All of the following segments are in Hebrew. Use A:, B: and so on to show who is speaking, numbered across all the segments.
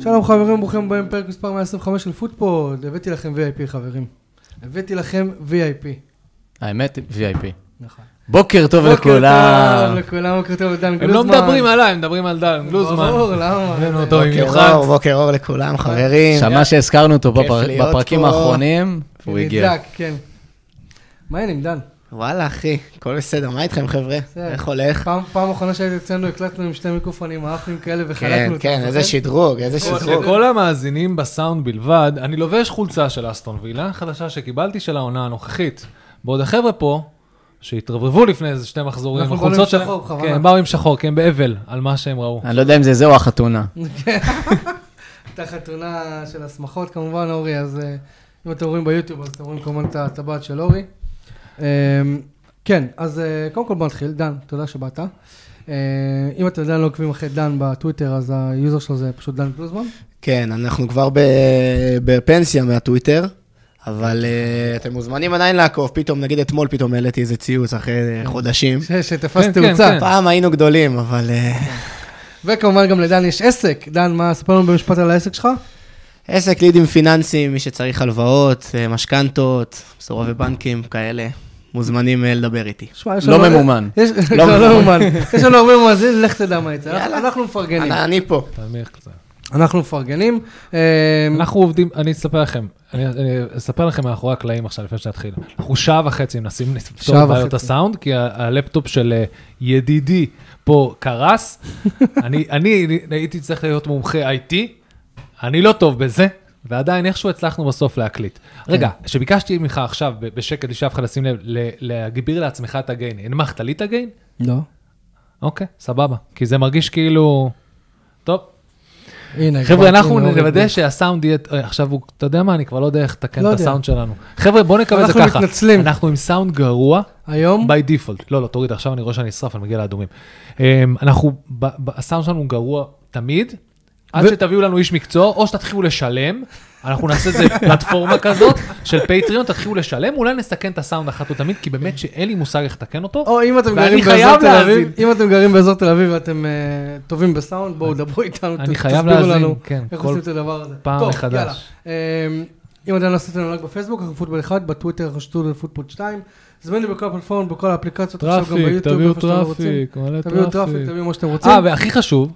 A: שלום חברים, ברוכים הבאים לפרק מספר 125 של פוטפוד. הבאתי לכם VIP חברים. הבאתי לכם VIP.
B: האמת, VIP.
A: נכון.
B: בוקר טוב לכולם.
A: בוקר טוב לכולם, בוקר טוב לדן
C: הם לא מדברים עליי, הם מדברים על דן גלוזמן.
A: ברור, למה?
C: הבאנו אותו עם אה,
D: בוקר
C: יוחד.
D: אור, בוקר אור לכולם, חברים.
B: שמע שהזכרנו אותו
D: כיף
B: בפר-
D: להיות
B: בפרקים
D: פה.
B: האחרונים, הוא הגיע.
A: נדלק, כן. מה העניינים, דן?
D: וואלה, אחי, הכל בסדר, מה איתכם, חבר'ה?
A: בסדר.
D: איך הולך?
A: פעם פעם אחרונה שהיית אצלנו, הקלטנו עם שני מיקרופונים, עפים כאלה
D: כן,
A: וחלקנו אותם,
D: כן,
A: נכון?
D: איזה שדרוג, איזה שדרוג.
C: לכל המאזינים בסאונד בלבד, אני לובש חולצה של אסטון וילה, חדשה שקיבלתי של העונה הנוכחית. בעוד החבר'ה פה, שהתרברבו לפני איזה שני מחזורים,
A: אנחנו
C: החולצות
A: באנו עם
C: שלהם-
A: שחור, בכוונה. אה.
C: כן, הם באו עם שחור, כי הם באבל על מה שהם ראו.
B: אני לא יודע אם זה זה או החתונה.
A: הייתה חתונה של הסמכות כמובן, אורי, אז אה, אם אתם רואים ביוטיוב, אז אתם רואים כמובן את הטבעת של אורי. אה, כן, אז אה, קודם כל בוא נתחיל, דן, תודה שבאת. אה, אם אתם עדיין לא עוקבים אחרי דן בטוויטר, אז היוזר שלו זה פשוט דן גלוזמן.
D: כן, אנחנו כבר ב- בפנסיה מהטוויטר, אבל אה, אתם מוזמנים עדיין לעקוב, פתאום, נגיד אתמול פתאום העליתי איזה ציוץ אחרי אה, חודשים.
A: ש- שתפס
C: כן, כן,
A: תאוצה.
C: כן.
D: פעם היינו גדולים, אבל אה,
A: וכמובן גם לדן יש עסק. דן, מה, ספר לנו במשפט על העסק שלך?
D: עסק לידים פיננסיים, מי שצריך הלוואות, אה, משכנתות, מסורבי בנקים, כאלה, מוזמנים אה, לדבר איתי.
A: שמע, יש
B: לא
A: לנו-
B: ממומן.
A: יש- לא לא ממומן. יש לנו הרבה מאזינים, לך תדע מה יצא. אנחנו-
D: יאללה.
A: אנחנו מפרגנים.
D: אני אני פה.
C: תנמיך קצת.
A: אנחנו מפרגנים. אה,
C: אנחנו עובדים, אני אספר לכם, אני, אני אספר לכם מאחורי הקלעים עכשיו, לפני שנתחיל. אנחנו שעה וחצי מנסים לפתור
A: שעה
C: את בעיות
A: וחצי.
C: הסאונד, כי ה- הלפטופ של אה, ידידי פה קרס. אני, אני הייתי צריך להיות מומחה IT, אני לא טוב בזה, ועדיין איכשהו הצלחנו בסוף להקליט.
A: כן.
C: רגע, כשביקשתי ממך עכשיו, ב- בשקט, לשאף אחד לשים לב, ל- להגביר לעצמך את הגיין, הנמכת לי את הגיין?
A: לא.
C: אוקיי, סבבה, כי זה מרגיש כאילו... טוב,
A: הנה, כבר-
C: חבר'ה, אנחנו
A: הנה, אורי
C: נוודא שהסאונד יהיה, אה, עכשיו הוא, אתה יודע מה, אני כבר לא יודע איך לתקן
A: לא
C: את
A: יודע.
C: הסאונד שלנו. חבר'ה, בואו נקרא לזה
A: אנחנו
C: ככה.
A: מתנצלים.
C: אנחנו עם סאונד גרוע,
A: היום?
C: by default. לא, לא, תוריד, עכשיו אני רואה שאני אשרף, אני מגיע לאדומים. אמ, אנחנו, ב- ב- הסאונד שלנו הוא גרוע תמיד, עד
A: ו-
C: שתביאו לנו איש מקצוע, או שתתחילו לשלם, אנחנו נעשה איזה פלטפורמה כזאת של פטריון, תתחילו לשלם, אולי נסכן את הסאונד אחת ולתמיד, כי באמת שאין לי מושג איך לתקן אותו.
A: או אם אתם
C: ואני
A: גרים
C: חייב
A: באזור תל
C: להאזין.
A: אביב, אם אתם גרים באזור תל אביב ואתם אה, טובים בסאונד, בואו דברו איתנו, ת-
C: אני חייב
A: תסבירו
C: להאזין,
A: לנו
C: כן,
A: איך
C: כל
A: עושים את הדבר הזה.
C: פעם
A: טוב,
C: מחדש.
A: יאללה. אה, אם עדיין לא עשיתם לנו רק בפייסבוק, אנחנו פוטבול 1, בטוויטר אנחנו שטודל פוטבול 2, זמינו בכל הפלטפורמות, בכל האפליקציות, עכשיו גם ביוטיוב, איפה שאתם רוצים.
C: מלא
A: תביאו טראפיק, תביאו מה שאתם רוצים.
C: אה, והכי חשוב,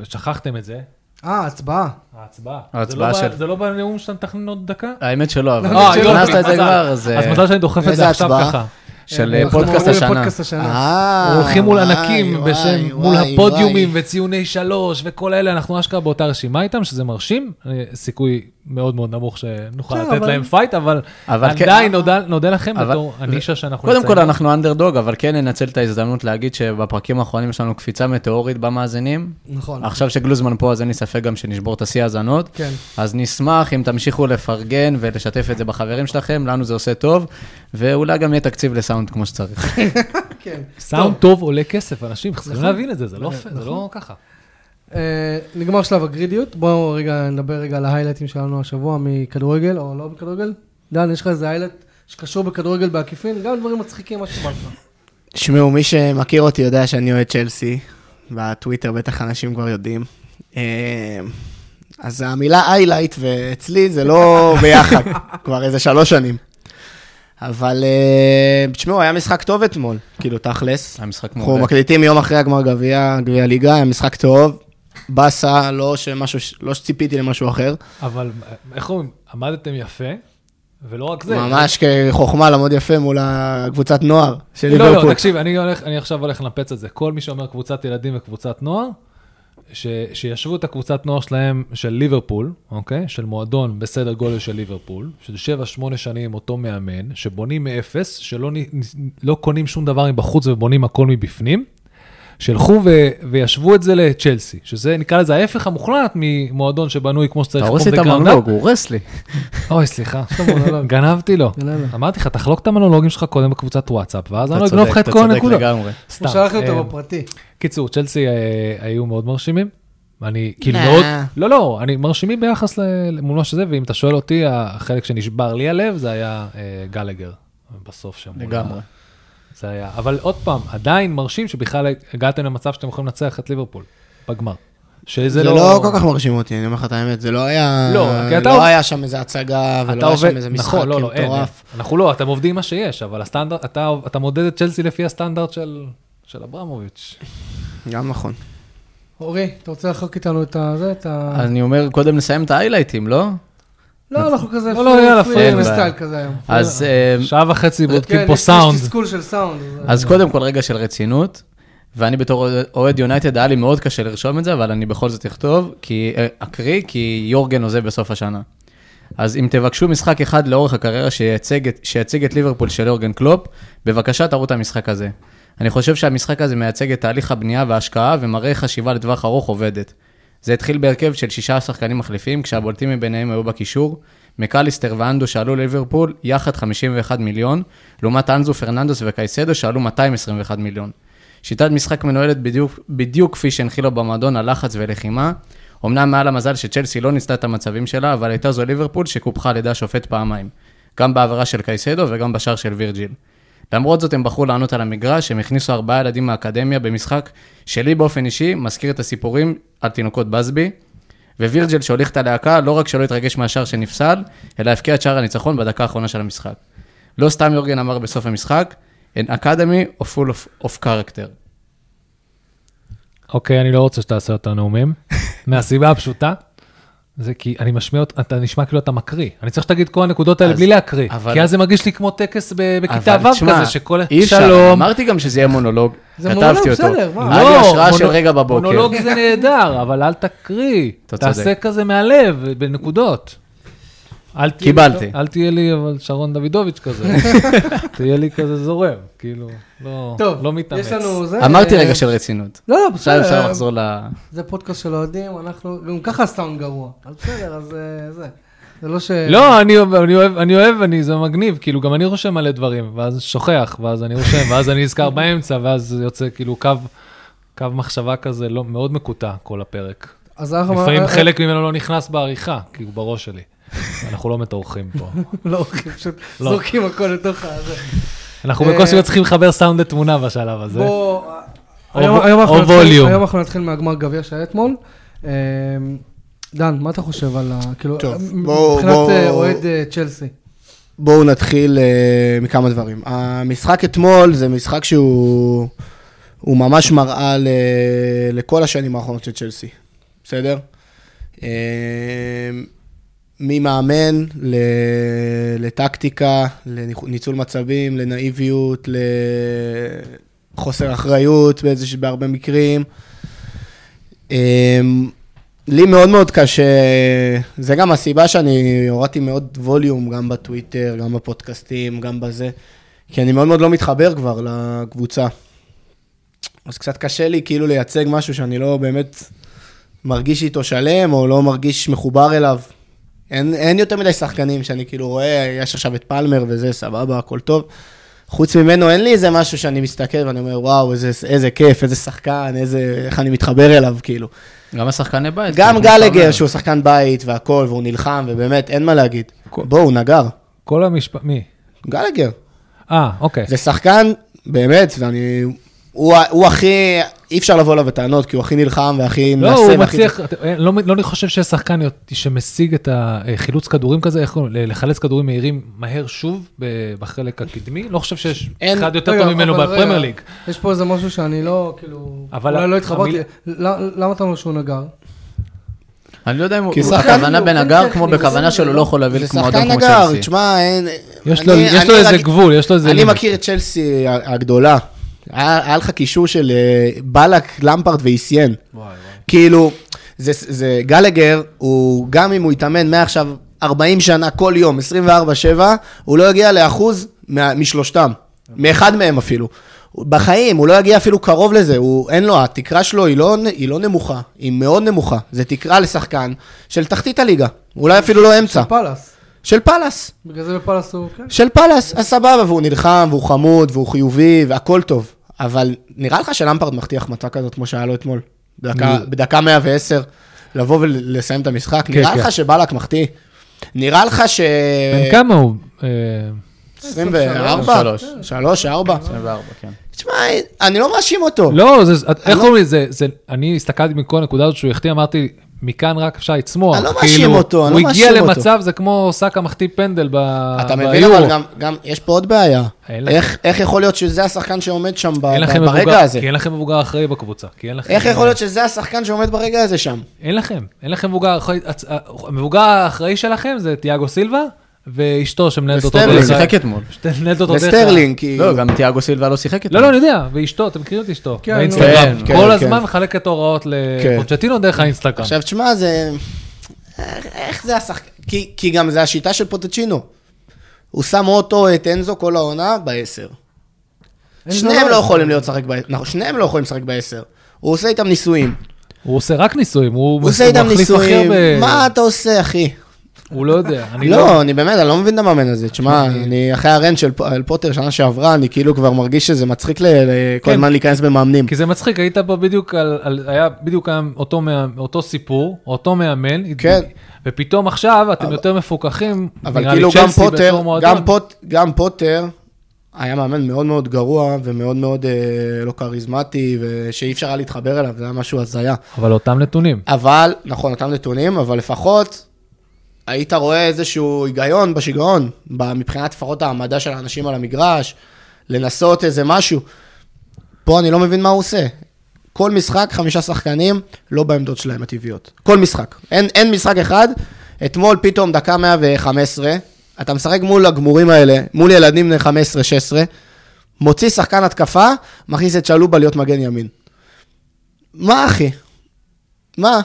C: ושכחתם את זה,
A: אה, הצבעה.
C: ההצבעה.
B: ההצבעה
C: זה
B: של-
C: לא ב- זה לא בנאום שאתה מתכנן עוד דקה?
B: האמת שלא, אבל
A: אה, יופי,
B: הכנסת את זה
C: מזל.
B: כבר, אז אה,
C: אז מזל שאני דוחף את
D: איזה
C: זה עכשיו
D: הצבעה?
C: ככה.
B: של
A: אנחנו
B: אה, פודקאסט
A: עוברים
B: השנה.
A: לפודקאסט השנה.
D: אה,
C: הולכים מול
D: וואי,
C: ענקים
D: וואי,
C: בשם, מול
D: וואי,
C: הפודיומים
D: וואי.
C: וציוני שלוש וכל אלה, אנחנו אשכרה באותה רשימה איתם, שזה מרשים. אה, סיכוי מאוד מאוד נמוך שנוכל
A: כן,
C: לתת
A: אבל-
C: להם פייט, אבל
B: אבל כן-
C: עדיין נודה- נודה לכם
B: אבל-
C: בתור הנישה שאנחנו
B: קודם כל,
C: נמצאים.
B: אנחנו אנדרדוג, אבל כן ננצל את ההזדמנות להגיד שבפרקים האחרונים יש לנו קפיצה מטאורית במאזינים.
A: נכון.
B: עכשיו שגלוזמן פה, אז אין לי ספק גם שנשבור את השיא האזנות.
A: כן.
B: אז נשמח אם תמשיכו לפרגן ולשתף את זה בחברים שלכם, לנו זה עושה טוב, ואולי גם יהיה תקציב לסאונד כמו שצריך. אה.
A: כן.
C: סאונד טוב עולה כסף, אנשים צריכים להבין את זה, זה לא פייר, זה לא ככה.
A: אה, נגמר שלב הגרידיות, בואו רגע נדבר רגע על ההיילייטים שלנו השבוע מכדורגל, או לא מכדורגל. דן, יש לך איזה היילייט שקשור בכדורגל בעקיפין? גם דברים מצחיקים, מה שבא לך.
D: תשמעו, מי שמכיר אותי יודע שאני אוהד צ'לסי, בטוויטר בטח אנשים כבר יודעים. אמ, אז המילה איילייט ואצלי זה לא ביחד, כבר איזה שלוש שנים. אבל אה, תשמעו, היה משחק טוב אתמול, כאילו תכלס.
B: היה משחק
D: אנחנו
B: מעולה.
D: מקליטים יום אחרי הגמר גביע, גביע ליגה, היה משחק טוב. באסה, לא שמשהו ש- לא שציפיתי למשהו אחר.
C: אבל אה, איך אומרים, עמדתם יפה, ולא רק זה.
D: ממש כחוכמה לעמוד יפה מול הקבוצת נוער של
C: לא,
D: ליברפול.
C: לא, תקשיב, אני הולך- אני עכשיו הולך לנפץ את זה. כל מי שאומר קבוצת ילדים וקבוצת נוער, ש- שישבו את הקבוצת נוער שלהם של ליברפול, אוקיי? של מועדון בסדר גודל של ליברפול, של 7-8 שנים עם אותו מאמן, שבונים מאפס, שלא נ- נ- לא קונים שום דבר מבחוץ ובונים הכל מבפנים. שילכו ו- וישבו את זה לצ'לסי, שזה נקרא לזה ההפך המוחלט ממועדון שבנוי כמו שצריך.
B: אתה הורס
C: from
B: לי את
C: the ground up.
B: המונולוג, הוא הורס לי.
C: אוי, סליחה,
A: מונולוג.
C: גנבתי לו.
A: גנב.
C: אמרתי לך, תחלוק את המונולוגים שלך קודם בקבוצת וואטסאפ, ואז אני לא
B: אתה
C: אגנוב לך
B: צודק,
C: את
B: אתה
C: כל
B: צודק
C: הנקודות.
B: לגמרי.
C: סתם.
A: הוא שלח לי
C: אה,
A: אותו בפרטי.
C: קיצור, צ'לסי אה, היו מאוד מרשימים. אני כאילו
D: לא.
C: מאוד, לא, לא, אני מרשימים ביחס ל- מול מה שזה, ואם אתה שואל אותי, החלק שנשבר לי הלב זה היה אה, גלגר, בסוף שם. מול
B: לגמרי.
C: ה- זה היה, אבל עוד פעם, עדיין מרשים שבכלל הגעתם למצב שאתם יכולים לנצח את ליברפול, בגמר. שזה
D: זה
C: לא...
D: לא כל כך מרשים אותי, אני אומר לך את האמת, זה לא היה...
C: לא, כי אתה
D: לא
C: עובד-
D: היה שם איזה הצגה,
C: אתה
D: ולא היה
C: עובד,
D: שם איזה משחק
C: נכון, לא, לא, אין, אין.
D: מטורף.
C: אנחנו לא, אתם עובדים עם מה שיש, אבל הסטנדרט, אתה, אתה מודד את צ'לסי לפי הסטנדרט של, של אברמוביץ'.
D: גם נכון.
A: אורי, אתה רוצה לחלוק איתנו את הזה? את ה...
B: אז אני אומר, קודם נסיים את ההיילייטים, לא?
A: לא, אנחנו כזה
C: לא, לא, יאללה,
A: פרי-
C: פרי,
B: אין
A: פרי
B: בעיה.
A: סטייל כזה היום.
B: אז... אה,
C: שעה וחצי בודקים
A: כן,
C: פה
A: יש-
C: סאונד.
A: יש תסכול של סאונד. אז-
B: אז קודם כל רגע של רצינות, ואני בתור אוהד יונייטד, היה לי מאוד קשה לרשום את זה, אבל אני בכל זאת אכתוב, כי, אה, אקריא, כי יורגן עוזב בסוף השנה. אז אם תבקשו משחק אחד לאורך הקריירה שייצג את, שייצג את ליברפול של יורגן קלופ, בבקשה תראו את המשחק הזה. אני חושב שהמשחק הזה מייצג את תהליך הבנייה וההשקעה ומראה איך חשיבה לטווח ארוך עובדת. זה התחיל בהרכב של שישה שחקנים מחליפים, כשהבולטים מביניהם היו בקישור, מקליסטר ואנדו שעלו לליברפול, יחד 51 מיליון, לעומת אנזו פרננדוס וקייסדו שעלו 221 מיליון. שיטת משחק מנוהלת בדיוק, בדיוק כפי שהנחילו במועדון הלחץ ולחימה. אמנם מעל המזל שצ'לסי לא ניסתה את המצבים שלה, אבל הייתה זו ליברפול שקופחה על ידי השופט פעמיים. גם בעבירה של קייסדו וגם בשער של וירג'יל. למרות זאת הם בחרו לענות על המגרש, הם הכניסו ארבעה ילדים מהאקדמיה במשחק שלי באופן אישי מזכיר את הסיפורים על תינוקות בסבי. ווירג'ל שהוליך את הלהקה לא רק שלא התרגש מהשער שנפסל, אלא הבקיע את שער הניצחון בדקה האחרונה של המשחק. לא סתם יורגן אמר בסוף המשחק, an academy of full of, of character.
C: אוקיי, אני לא רוצה שתעשה את הנאומים, מהסיבה הפשוטה. זה כי אני משמיע אותך, אתה נשמע כאילו אתה מקריא. אני צריך שתגיד כל הנקודות האלה
B: אז-
C: בלי להקריא.
B: אבל-
C: כי אז זה מרגיש לי כמו טקס ב- בכיתה
B: אבל
C: ו'
B: תשמע,
C: כזה, שכל...
B: אי אפשר,
C: שלום.
B: אמרתי גם שזה יהיה מונולוג,
A: זה מונולוג,
B: כתבתי אותו.
A: בסדר, מה?
B: היה לי
C: לא,
B: השראה של
C: מונו-
B: רגע בבוקר.
C: מונולוג זה נהדר, אבל אל תקריא.
B: אתה צודק.
C: תעשה כזה מהלב, בנקודות. אל תהיה לי-
B: קיבלתי.
C: אל תהיה לי אבל שרון דוידוביץ' כזה. תהיה לי כזה זורם, כאילו, לא
A: טוב,
C: לא מתאמץ.
A: יש לנו זה...
B: אמרתי
A: אה,
B: רגע של רצינות.
A: לא, לא,
B: עכשיו אפשר
A: בסדר.
B: לחזור ל...
A: זה פודקאסט של אוהדים, אנחנו... גם ככה הסאונד גרוע. אז בסדר, אז אה, זה. זה לא ש...
C: לא, אני אוהב- אני אוהב, אני אוהב, אני- זה מגניב, כאילו, גם אני רושם מלא דברים, ואז שוכח, ואז אני רושם, ואז אני נזכר באמצע, ואז יוצא כאילו קו, קו מחשבה כזה לא, מאוד מקוטע כל הפרק.
A: אז אנחנו...
C: לפעמים
A: אה,
C: חלק ממנו לא נכנס בעריכה, כי הוא בראש שלי. אנחנו לא מטורחים פה.
A: אה, לא, כי פשוט
C: לא.
A: זורקים הכל לתוך הזה.
C: אנחנו
A: אה,
C: בקושי מצליחים לחבר סאונד לתמונה בשלב הזה.
A: בוא...
C: או
A: היום-
C: ו-
A: היום
C: או
A: אנחנו נתחיל-
C: ווליום.
A: היום אנחנו נתחיל מהגמר גביע שהיה אתמול. אה, דן, מה אתה חושב על ה... כאילו,
D: טוב,
A: מ-
D: בואו-
A: מבחינת אה,
D: בואו-
A: אוהד אה, צ'לסי.
D: בואו נתחיל אה, מכמה דברים. המשחק אתמול זה משחק שהוא הוא ממש מראה ל, לכל השנים האחרונות של צ'לסי, בסדר? אה, ממאמן ל, לטקטיקה, לניצול מצבים, לנאיביות, לחוסר אחריות באיזה, בהרבה מקרים. אמ, לי מאוד מאוד קשה, זה גם הסיבה שאני הורדתי מאוד ווליום, גם בטוויטר, גם בפודקאסטים, גם בזה, כי אני מאוד מאוד לא מתחבר כבר לקבוצה. אז קצת קשה לי כאילו לייצג משהו שאני לא באמת מרגיש איתו שלם, או לא מרגיש מחובר אליו. אין, אין יותר מדי שחקנים שאני כאילו רואה, יש עכשיו את פלמר וזה, סבבה, הכל טוב. חוץ ממנו אין לי איזה משהו שאני מסתכל ואני אומר, וואו, איזה, איזה כיף, איזה שחקן, איזה, איך אני מתחבר אליו, כאילו.
B: גם השחקני בית. כן,
D: גם
B: כמו שאתה
D: גלגר,
B: אומר.
D: שהוא שחקן בית והכל, והוא נלחם, ובאמת, אין מה להגיד. בואו, הוא נגר.
C: כל המשפט, מי?
D: גלגר.
C: אה, אוקיי.
D: זה שחקן, באמת, ואני... הוא ה- הוא הכי... אי אפשר לבוא אליו בטענות, כי הוא הכי נלחם והכי מנסה.
C: לא, הוא
D: והכי-
C: מצליח, אה, לא לא אני חושב שיש שחקן יוט- שמשיג את החילוץ כדורים כזה, איך קוראים? ל- לחלץ כדורים מהירים מהר שוב ב- בחלק הקדמי, לא חושב שיש
D: אין-
C: אחד יותר
A: רגע,
C: טוב ממנו
A: אבל רגע,
C: בפרמייר ליג.
A: יש פה איזה משהו שאני לא, כאילו,
C: אבל
A: אולי
C: ה-
A: לא התחברתי.
C: המיל-
A: ל- למה אתה אומר שהוא נגר?
B: אני לא יודע אם הוא
D: כי
B: הוא
D: שחקן-
B: בכוונה
A: הוא
B: בנגר,
A: טכני,
B: כמו
A: הוא
B: בכוונה
A: בסדר.
B: שלו לא יכול להביא
D: זה
B: כמו אדום
D: שחקן
B: כמו
D: נגר,
B: צ'לסי.
D: תשמע, אין...
C: יש
D: אני-
C: לו יש
D: אני
C: לו איזה
D: רגיל-
C: גבול, יש לו איזה
D: אני
C: לימיט.
D: מכיר את צ'לסי ה- הגדולה. היה היה לך קישור של אה, בלק, למפרט ואיסיאן. כאילו, זה, זה גלגר, הוא, גם אם הוא יתאמן מעכשיו 40 שנה כל יום, 24-7, הוא לא יגיע לאחוז מה, משלושתם, מאחד מהם אפילו. הוא- בחיים, הוא לא יגיע אפילו קרוב לזה, הוא, אין לו, התקרה שלו היא לא, נ- היא לא נמוכה, היא מאוד נמוכה. זה תקרה לשחקן של תחתית הליגה, אולי אפילו לא אמצע,
A: פאלאס.
D: של פאלאס.
A: בגלל זה בפאלאס הוא, כן.
D: של פאלאס, אז סבבה, והוא נלחם, והוא חמוד, והוא חיובי, והכל טוב. אבל נראה לך שלמפרד מחטיח מצה כזאת כמו שהיה לו אתמול? בדקה- בדקה 110, לבוא ולסיים את המשחק? נראה
C: כן.
D: לך שבלק מחטיא? נראה לך ש...
C: בן כמה הוא? אה,
D: 24?
B: 23.
D: 3, 4?
B: וארבע, כן.
D: תשמע, אני לא מאשים אותו.
C: לא, זה- את- איך קוראים לזה? זה- אני הסתכלתי מכל הנקודה הזאת שהוא החטיא, אמרתי, מכאן רק אפשר לצמוח.
D: אני לא
C: כאילו,
D: מאשים אותו, אני לא
C: הוא
D: מאשים
C: הגיע
D: אותו.
C: למצב, זה כמו סאקה מחטיא פנדל ב-
D: אתה מבין,
C: ביורו.
D: אבל גם, גם, יש פה עוד בעיה.
C: אין
D: איך, איך יכול להיות שזה השחקן שעומד שם ב,
C: אין
D: ב,
C: לכם
D: ברגע
C: מבוגר- כן.
D: הזה?
C: כי אין לכם מבוגר אחראי בקבוצה. כי אין לכם-
D: איך יכול להיות שזה השחקן שעומד ברגע הזה שם?
C: אין לכם, אין לכם מבוגר אחראי, הצ- המבוגר האחראי שלכם זה תיאגו סילבה ואשתו שמנהלת אותו.
D: וסטרלינג.
B: הוא
C: דרך-
B: שיחק אתמול.
C: שמנהלת אותו דרך ה-
D: וסטרלינג, כאילו.
B: לא, גם תיאגו סילבה לא שיחק
C: לא,
B: אתמול.
C: לא, אני יודע, ואשתו, אתם מכירים את אשתו.
A: כן,
C: באינסטגרם.
B: כן,
D: כן,
C: כל
D: כן.
C: הזמן מחלקת הוראות לפוצ'טינו דרך האינסטגרם.
D: עכשיו, תשמע, זה... איך- איך זה השחקן? כי, כי גם זה השיטה של פוטצ'ינו. הוא שם אותו, את אנזו, כל העונה, בעשר.
A: אין
D: שניהם
A: זמן.
D: לא יכולים להיות לשחק בעשר. נכון, שניהם לא יכולים לשחק בעשר. הוא עושה איתם ניסויים.
C: הוא עושה רק ניסויים, הוא
D: הוא עושה
C: הוא
D: איתם
C: מחליף הכי
D: ניסויים.
C: הרבה-
D: מה אתה עושה, אחי?
C: הוא לא יודע, אני לא...
D: לא, אני באמת, אני לא מבין את המאמן הזה. תשמע, אני אחרי הרנט של פ- על פוטר שנה שעברה, אני כאילו כבר מרגיש שזה מצחיק ל- ל- כל
C: כן.
D: הזמן להיכנס במאמנים.
C: כי זה מצחיק, היית פה בדיוק על, על היה בדיוק היה אותו, מה- אותו סיפור, אותו מאמן,
D: כן.
C: ופתאום עכשיו אתם יותר מפוקחים,
D: אבל
C: נראה לי
D: כאילו גם
C: צ'לסי
D: פוטר,
C: בתור מועדון.
D: גם, פוט, גם פוטר היה מאמן מאוד מאוד גרוע ומאוד מאוד אה, לא כריזמטי, ושאי אפשר היה להתחבר אליו, זה היה משהו הזיה.
C: אבל אותם נתונים.
D: אבל, נכון, אותם נתונים, אבל לפחות היית רואה איזשהו היגיון בשיגעון, ב- מבחינת לפחות העמדה של האנשים על המגרש, לנסות איזה משהו. פה אני לא מבין מה הוא עושה. כל משחק, חמישה שחקנים, לא בעמדות שלהם הטבעיות. כל משחק. אין, אין משחק אחד. אתמול פתאום דקה 115, אתה משחק מול הגמורים האלה, מול ילדים בני 15-16, מוציא שחקן התקפה, מכניס את שלובה להיות מגן ימין. מה אחי? מה?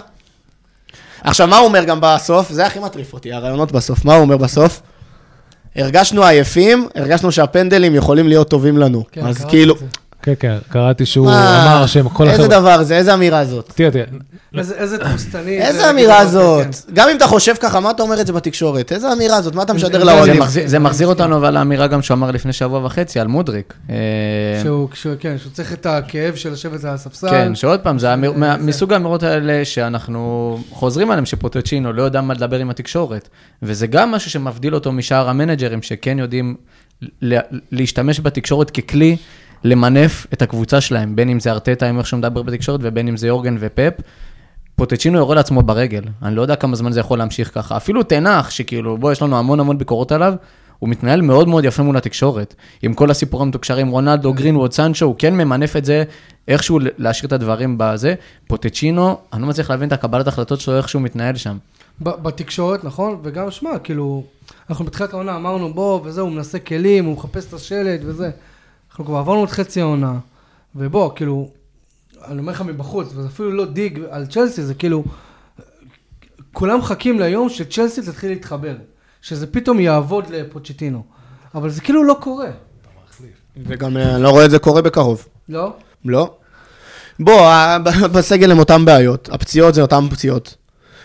D: עכשיו, מה הוא אומר גם בסוף? זה הכי מטריף אותי, הרעיונות בסוף. מה הוא אומר בסוף? הרגשנו עייפים, הרגשנו שהפנדלים יכולים להיות טובים לנו.
A: כן,
D: אז
A: קראתי
D: כאילו,
A: את זה.
C: כן, כן, קראתי שהוא
D: מה?
C: אמר שהם כל
D: אה, איזה
C: החבר'ה...
D: דבר זה? איזה אמירה זאת?
C: תראה, תראה,
A: איזה- איזה תבוסתני.
D: איזה
A: זה,
D: אמירה
A: כאילו,
D: זאת?
A: כן.
D: גם אם אתה חושב ככה, מה אתה אומר את זה בתקשורת? איזה אמירה זאת? מה אתה משדר
A: זה-
B: זה
D: לאוהדים?
B: מחזיר- זה מחזיר אותנו אבל לאמירה גם שהוא אמר לפני שבוע וחצי על מודריק. אה,
A: שהוא, כשהוא- כן, שהוא צריך את הכאב של לשבת על הספסל.
B: כן, שעוד פעם, זה המיר- מה- מסוג האמירות האלה שאנחנו חוזרים עליהן, שפוטצ'ינו לא יודע מה לדבר עם התקשורת. וזה גם משהו שמבדיל אותו משאר המנג'רים, שכן יודעים ל- להשתמש בתקשורת ככלי למנף את הקבוצה שלהם, בין אם זה ארטטה עם איך שהוא מדבר בתקשורת, ובין אם זה יורגן ופפ. פוטצ'ינו יורה לעצמו ברגל, אני לא יודע כמה זמן זה יכול להמשיך ככה. אפילו תנח, שכאילו, בוא, יש לנו המון המון ביקורות עליו, הוא מתנהל מאוד מאוד יפה מול התקשורת. עם כל הסיפור המתוקשר עם רונלדו, גרינווד, סנצ'ו, הוא כן ממנף את זה איכשהו להשאיר את הדברים בזה. פוטצ'ינו, אני לא מצליח להבין את הקבלת ההחלטות שלו, איך שהוא מתנהל שם.
A: ב- בתקשורת, נכון? וגם, שמע, כאילו, אנחנו בתחילת העונה אמרנו, בוא, וזה, הוא מנסה כלים, הוא מחפש את השלד וזה. אנחנו כבר עברנו את חצי העונה, ובוא, כאילו, אני אומר לך מבחוץ, וזה אפילו לא דיג על צ'לסי, זה כאילו, כולם מחכים ליום שצ'לסי תתחיל להתחבר, שזה פתאום יעבוד לפוצ'טינו. אבל זה כאילו לא קורה,
D: וגם אה, אני לא רואה את זה קורה בקרוב.
A: לא?
D: לא. בוא, ה- ב- בסגל הם אותם בעיות, הפציעות זה אותן פציעות.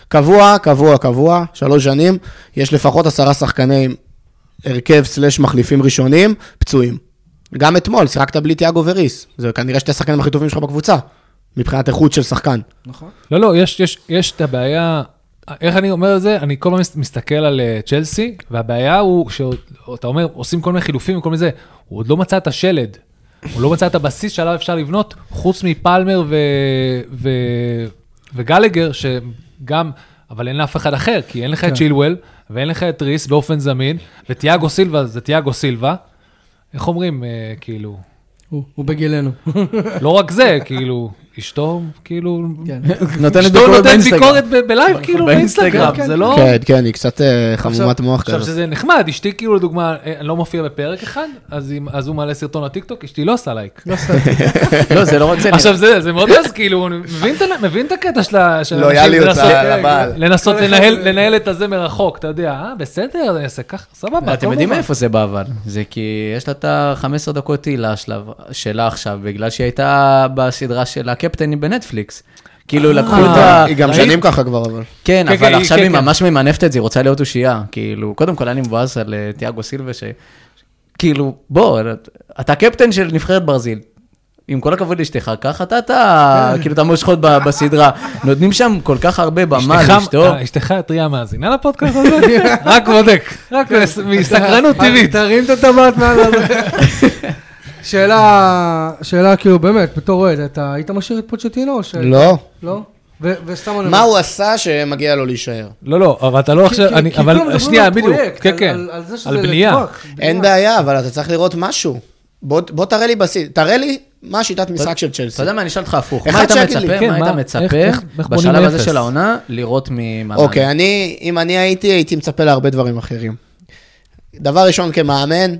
D: קבוע, קבוע, קבוע, שלוש שנים, יש לפחות עשרה שחקני הרכב סלש מחליפים ראשונים, פצועים. גם אתמול שיחקת בלי תיאגו וריס, זה כנראה שתי השחקנים הכי טובים שלך בקבוצה, מבחינת איכות של שחקן.
A: נכון.
C: לא, לא, יש- יש- יש את הבעיה, איך אני אומר את זה? אני כל הזמן מס- מסתכל על אה, צ'לסי, והבעיה הוא שאתה אומר, עושים כל מיני חילופים וכל מיני זה, הוא עוד לא מצא את השלד. הוא לא מצא את הבסיס שעליו אפשר לבנות, חוץ מפלמר ו... ו... וגלגר, שגם, אבל אין לאף אחד אחר, כי אין לך את צ'ילואל, ואין לך את ריס באופן זמין, ותיאגו סילבה זה תיאגו סילבה. איך אומרים, אה, כאילו,
A: הוא, הוא בגילנו.
C: לא רק זה, כאילו, אשתו, כאילו,
A: כן.
B: נותנת
C: אשתו
B: ביקורת
C: נותן
B: באינסטגרם.
C: ביקורת ב- בלייב, כאילו, באינסטגרם,
A: כן,
C: זה
A: כן.
C: לא...
D: כן, כן, היא קצת אה,
C: עכשיו-
D: חמומת מוח
C: עכשיו,
D: כזאת.
C: שזה נחמד, אשתי כאילו, לדוגמה, אה, אני לא מופיע בפרק אחד, אז אם- אז הוא מעלה סרטון לטיקטוק, אשתי לא עושה לייק.
B: לא, זה לא רק זה. אני-
C: עכשיו, זה זה מאוד אז, כאילו, אני מבין את ה- מבין את הקטע של ה- של
D: לויאליות
C: אנשים לנסות-
D: ל- לבעל.
C: לנסות
A: כל אחד-
C: לנהל- לנהל את הזה מרחוק, אתה יודע, אה, בסדר, אני אעשה ככה, סבבה,
B: אתם
C: הכל
B: יודעים
C: מובן.
B: מאיפה זה בא אבל, זה כי יש לה את ה-15 דקות תהילה שלה- שלה עכשיו, בגלל שהיא הייתה בסדרה של הקפטנים בנטפליקס. כאילו לקחו את ה...
D: אה, היא
C: אה,
D: גם שנים ככה כבר, אבל.
B: כן,
C: כן, כן,
B: אבל עכשיו
C: כן,
B: היא
C: כן.
B: ממש ממנפת את זה, היא רוצה להיות אושייה. כאילו, קודם כל אני מבואס על אה, תיאגו סילבה, ש... כאילו, בוא, אתה קפטן של נבחרת ברזיל. עם כל הכבוד לאשתך, ככה אתה, אתה,
D: כן.
B: כאילו, אתה מושכות ב- בסדרה. נותנים שם כל כך הרבה במה
C: אשתך-
B: לאשתו.
C: אה, אשתך הטריה מאזינה לפודקאסט הזה?
A: כן. אה,
C: רק בודק, רק מסקרנות טבעית.
A: תרים את הטבעת מעל הזה. שאלה, שאלה כאילו באמת, בתור אוהד, אתה היית משאיר את פוצ'טינו או ש...
D: לא.
A: לא? ו- וסתם אני...
D: מה הוא עשה שמגיע לו להישאר?
C: לא, לא, אבל אתה לא עכשיו,
A: כי-
C: אני-
A: כי כולם
C: אבל
A: מדברים
C: שנייה,
A: על
C: בדיוק,
A: הפרויקט,
C: כן,
A: על-
C: כן,
A: על- על זה שזה
C: על בנייה.
A: לטווח,
D: אין בעיה, אבל אתה צריך לראות משהו. בוא בוא תראה לי בסיס, תראה לי מה השיטת משחק של
B: אתה
D: צ'לסי.
B: יודע מה, אני אשאל אותך הפוך.
D: אחד
B: מה היית
D: שיגיד לי,
B: מצפה,
C: כן,
B: מה היית
C: מה- איך- איך-
B: מצפה
C: איך בונים
B: בשלב הזה
C: מאפס?
B: של העונה לראות ממאמן?
D: אוקיי, אני, אם אני הייתי, הייתי מצפה להרבה דברים אחרים. דבר ראשון, כמאמן,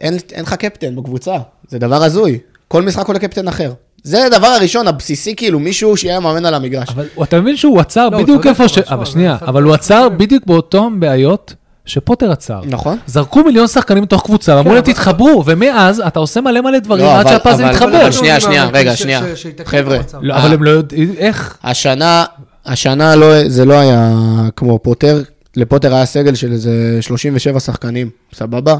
D: אין אין לך קפטן בקבוצה, זה דבר הזוי. כל משחק עולה קפטן אחר. זה הדבר הראשון, הבסיסי, כאילו, מישהו שיהיה מאמן על המגרש.
C: אבל אתה מבין שהוא עצר
A: לא, הוא
C: בדיוק
A: צודק,
C: איפה
A: אבל
C: ש...
A: שמע,
C: אבל
A: זה
C: שנייה,
A: אחד
C: אבל
A: הדברים
C: הוא עצר
A: ש-
C: בדיוק באותן בעיות שפוטר עצר.
D: נכון.
C: זרקו מיליון שחקנים מתוך קבוצה,
A: כן,
C: ואמרו להם תתחברו, ומאז אתה עשה מלא מלא דברים
D: לא,
C: עד
D: אבל-
C: שהפאזל
D: אבל-
C: מתחבר.
D: אבל שנייה,
A: אני מאמין
D: שנייה, רגע,
A: ש-
D: שנייה.
A: ש- שיתקן את
D: חבר'ה,
A: המצב.
C: לא, אבל הם לא יודעים איך.
D: השנה, השנה לא, זה לא היה כמו פוטר, לפוטר היה סגל של איזה 37 שחקנים, סבבה?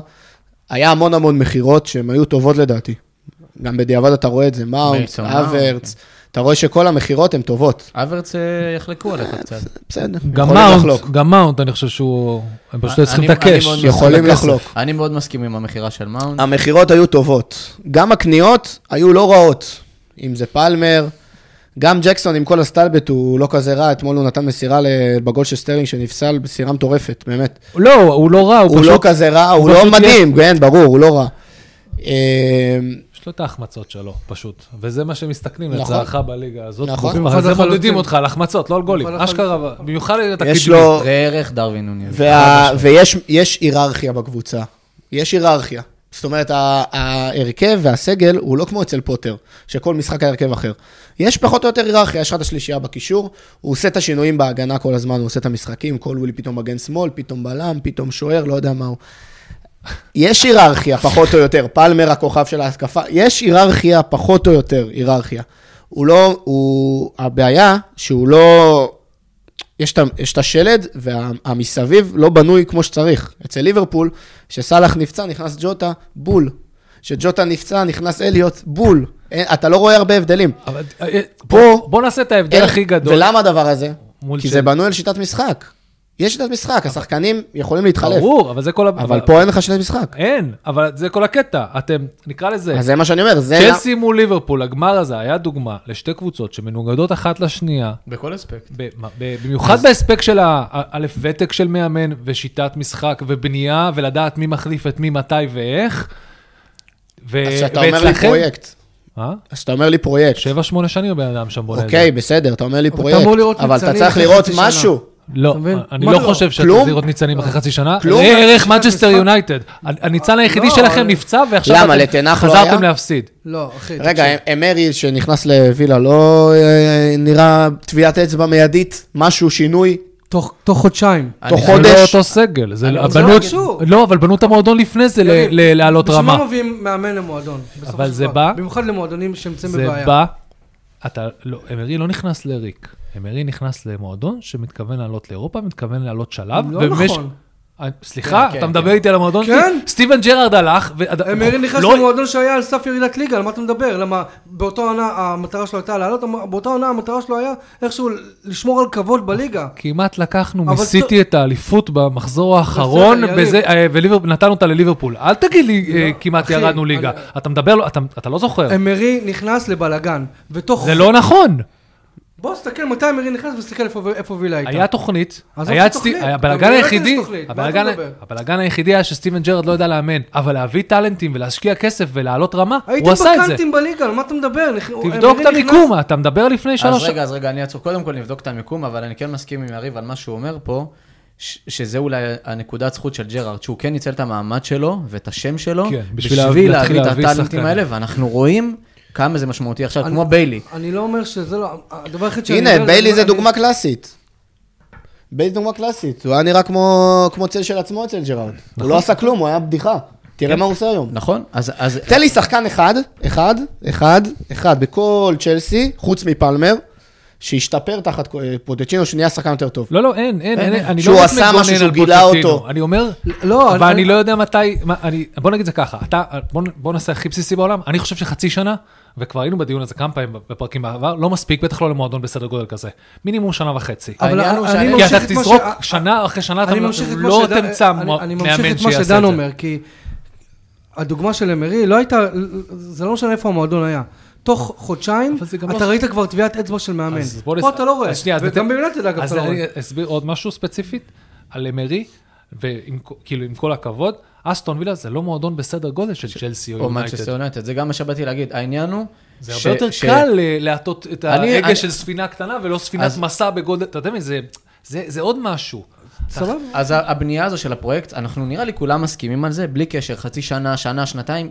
D: היה המון המון מכירות שהן היו טובות לדעתי. גם בדיעבד אתה רואה את זה, מאונט,
B: מילסון, מאונט.
D: אברץ, אתה רואה שכל המכירות הן טובות.
B: אברץ אה, יחלקו עליך קצת.
D: בסדר,
C: גם
D: יכולים
C: מאונט,
D: לחלוק.
C: גם מאונט, אני חושב שהוא... הם פשוט היו צריכים
B: אני-
C: את
B: אני
C: הקאש.
B: מאוד
D: יכולים
B: מסכים.
D: לחלוק.
B: אני מאוד מסכים עם המכירה של מאונד.
D: המכירות היו טובות. גם הקניות היו לא רעות. אם זה פלמר, גם ג'קסון עם כל הסטלבט הוא לא כזה רע, אתמול הוא נתן מסירה ל- בגול של סטרלינג שנפסל, מסירה מטורפת, באמת.
C: לא, הוא לא רע, הוא
D: הוא לא
C: פשוט...
D: כזה רע, הוא
C: הוא
D: לא
C: פשוט
D: מדהים, כן, ברור, הוא לא רע. אה,
C: יש לו את ההחמצות שלו, פשוט. וזה מה שמסתכלים
D: נכון.
C: לצערך בליגה הזאת.
D: נכון.
C: אבל
A: במיוחד
C: זה מודדים
A: לחלוצים.
C: אותך על החמצות, לא על גולים.
A: במיוחד
C: אשכרה, במיוחד את
D: יש
C: הקדמי.
D: לו,
B: ראה ערך דרווין
C: כן,
B: נוניז.
D: וה- ויש יש היררכיה בקבוצה. יש היררכיה. זאת אומרת, ה- ההרכב והסגל הוא לא כמו אצל פוטר, שכל משחק היה הרכב אחר. יש פחות או יותר היררכיה, יש לך את השלישייה בקישור, הוא עושה את השינויים בהגנה כל הזמן, הוא עושה את המשחקים, כל ווילי פתאום מגן שמאל, פתאום בלם, פתאום שוער, לא יודע מה הוא. יש היררכיה, פחות או יותר, פלמר הכוכב של ההתקפה, יש היררכיה, פחות או יותר, היררכיה. הוא לא, הוא, הבעיה שהוא לא, יש את ה- יש את השלד, והמסביב לא בנוי כמו שצריך. אצל ליברפול, כשסאלח נפצע, נכנס ג'וטה, בול. כשג'וטה נפצע, נכנס אליוט, בול. אין- אתה לא רואה הרבה הבדלים.
C: אבל, אה,
D: פה-
C: בוא נעשה את ההבדל הכי גדול.
D: ולמה הדבר הזה?
C: מול
D: כי
C: של-
D: זה בנוי על שיטת משחק. יש שיטת משחק, השחקנים יכולים להתחלף.
C: ברור, אבל זה כל... ה-
D: אבל פה אין לך שיטת משחק.
C: אין, אבל זה כל הקטע. אתם, נקרא לזה,
D: אז זה מה שאני אומר, זה...
C: אה,
D: לא-
C: צ'לסי מול ליברפול, הגמר הזה היה דוגמה לשתי קבוצות שמנוגדות אחת לשנייה,
B: בכל אספקט.
C: ב- מה- ב- במיוחד בהספק של ה- א- א', ותק של מאמן ושיטת משחק ובנייה, ולדעת מי מחליף את מי, מתי ואיך. ו-
A: אה,
D: אז כשאתה אומר לי פרויקט,
C: אה?
D: אז אתה אומר לי פרויקט.
C: שבע, שמונה שנים הבן אדם שם בונה את זה.
D: אוקיי, בסדר, אתה אומר לי
A: אתה
D: פרויקט,
A: אמור לראות
D: אבל אתה
A: ניצנים
D: צריך
A: אחרי
D: לראות
A: חצי שנה. אה,
D: משהו.
C: לא,
A: אתה מבין?
C: אני
A: מה
C: לא
A: לא?
C: חושב שאתה
D: כלום?
C: צריך לראות ניצנים אחרי חצי שנה.
D: כלום?
C: ראה ערך מנצ'סטר
A: משחק?
C: יונייטד. הניצן היחידי
A: לא,
C: שלכם
A: אבל-
C: נפצע, ועכשיו
D: למה,
C: אתם
D: לתנח לא היה?
C: חזרתם להפסיד.
A: לא, אחי.
D: רגע, אה.
A: תקשיב.
D: אמרי שנכנס לווילה, לא אה, נראה טביעת אצבע מיידית, משהו, שינוי,
A: תוך תוך חודשיים.
D: תוך
C: זה לא
D: חודש.
C: אותו סגל, זה
A: אני
C: לא-
A: רוצה
C: בנו את-
A: משהו.
C: לא, אבל בנו את המועדון לפני זה ל-
A: יריב,
C: ל- לעלות
A: בשביל מה
C: רמה.
A: מביאים מאמן למועדון? בסופו
C: אבל
A: של
C: זה
A: דבר?
C: בא-
A: במיוחד למועדונים שנמצאים
C: זה
A: בבעיה.
C: בא, אתה, לא, אמרי לא נכנס לריק. אמרי נכנס למועדון שמתכוון לעלות לאירופה, מתכוון לעלות שלב.
A: לא
C: ובמש-
A: נכון.
C: אה, סליחה,
B: כן,
C: אתה
B: כן,
C: מדבר
B: כן.
C: איתי על המועדון?
A: כן.
C: שלי? סטיבן ג'רארד הלך. ו-
A: אמרי נכנס
C: לא-
A: למועדון שהיה על סף ירידת ליגה, על מה אתה מדבר? למה באותה עונה המטרה שלו הייתה לעלות, אמר- באותה עונה המטרה שלו היה איכשהו לשמור על כבוד בליגה.
C: כמעט לקחנו,
A: אבל
C: מיסיתי את האליפות במחזור האחרון,
A: יריב. לא,
C: בזה- אה, וליברפול- נתנו אותה לליברפול. אל תגיד לי, אה, כמעט
A: אחי,
C: ירדנו ליגה.
A: אני-
C: אתה מדבר, לא- אתה- אתה לא זוכר.
A: אמרי נכנס לבלגן, ותוך...
C: זה לא נכון.
A: בוא, תסתכל מתי אמרי נכנס וסתכל איפה- איפה וילה הייתה.
C: היה תוכנית,
A: עזוב
C: היה
A: את
C: את סטי-
A: התוכנית,
C: היה-
A: גם
C: הבלגן
A: ביונייטד יש
C: היחידי,
A: תוכנית, מה אתה
C: הבלגן-
A: מדבר?
C: הבלגן היחידי היה שסטיבן ג'רד לא יודע לאמן, אבל להביא טאלנטים ולהשקיע כסף ולהעלות רמה,
A: הייתם
C: הוא עשה את זה.
A: בקאנטים בליגה, על מה אתה מדבר? נכ-
C: תבדוק
A: אמרי
C: את
A: נכנס-
C: המיקום, אתה מדבר לפני
B: אז
C: שלוש...
B: רגע, אז רגע, אני אעצור. קודם כל נבדוק את המיקום, אבל אני כן מסכים עם יריב על מה שהוא אומר פה, ש- שזה אולי הנקודת זכות של ג'רארד, שהוא כן ניצל את המעמד שלו ואת השם שלו,
C: כן, בשביל
B: בשביל
C: להביא-
B: להביא את
C: להתחיל להביא
B: הטאלנטים
C: שחקנים.
B: האלה, ואנחנו רואים כמה זה משמעותי עכשיו,
A: אני-
B: כמו ביילי.
A: אני לא אומר שזה לא... הדבר היחיד שאני...
D: הנה,
A: אומר, לא
D: ביילי זה
A: אני-
D: דוגמה קלאסית. ביילי זה דוגמה קלאסית, הוא היה נראה כמו כמו צל של עצמו אצל ג'רארד. הוא
A: נכון.
D: לא עשה כלום, הוא היה בדיחה.
A: כן.
D: תראה מה הוא עושה היום.
B: נכון? אז- אז
C: כן.
D: תן לי שחקן אחד, אחד, אחד, אחד בכל צ'לסי, חוץ מפלמר, שהשתפר תחת אה, פוטצ'ינו, שנהיה שחקן יותר טוב.
C: לא, לא, אין, אין, אין, אני
D: שהוא
C: לא רק
D: עשה
C: מגונן
D: משהו שהוא
C: על
D: גילה
C: פוצ'טינו.
D: אותו.
C: אני אומר,
A: לא,
C: אבל אני לא יודע מתי, מה- אני- בוא נגיד זה ככה, אתה, בוא- בוא נעשה הכי בסיסי בעולם, אני חושב שחצי שנה, וכבר היינו בדיון הזה כמה פעמים בפרקים בעבר, לא מספיק, בטח לא למועדון בסדר גודל כזה. מינימום שנה וחצי.
A: אבל
B: העניין הוא
A: אני
B: שאני-
A: ממשיך
C: כי אתה
A: את מה ש-
C: תזרוק שנה אחרי שנה, אתה
A: אני ממשיך את מה
C: לא
A: שדן-
C: תמצא
A: אני-
C: מוע-
A: אני
C: מאמן
A: ממשיך את מה
C: שיעשה את
A: שדן
C: זה.
A: אומר, כי הדוגמה של אמרי לא הייתה, זה לא משנה איפה המועדון היה. תוך חודשיים,
C: אבל זה גם
A: אתה
C: לא-
A: ראית כבר טביעת אצבע של מאמן.
C: אז בוא נס-
A: פה אתה לא רואה.
C: אז שנייה, אז
A: וגם
C: ניתן-
A: ביונטד אגב
C: אז
A: אתה לא
C: אני
A: רואה.
C: אסביר עוד משהו ספציפית על אמרי, וכאילו עם כל הכבוד, אסטון וילה זה לא מועדון בסדר גודל של צ'לסי או
B: או מנצ'סטר
C: יונייטד.
B: יונטד, זה גם מה שבאתי להגיד. העניין הוא...
C: זה
B: ש-
C: הרבה יותר
B: ש-
C: קל ל- להטות את
B: אני-
C: ההגה
B: אני-
C: של ספינה קטנה ולא ספינת
B: אז-
C: מסע בגודל, אתה יודע מה, זה- זה זה עוד משהו.
A: סבבה.
B: אז ה- הבנייה הזו של הפרויקט, אנחנו נראה לי כולם מסכימים על זה, בלי קשר, חצי שנה, שנה, שנתיים,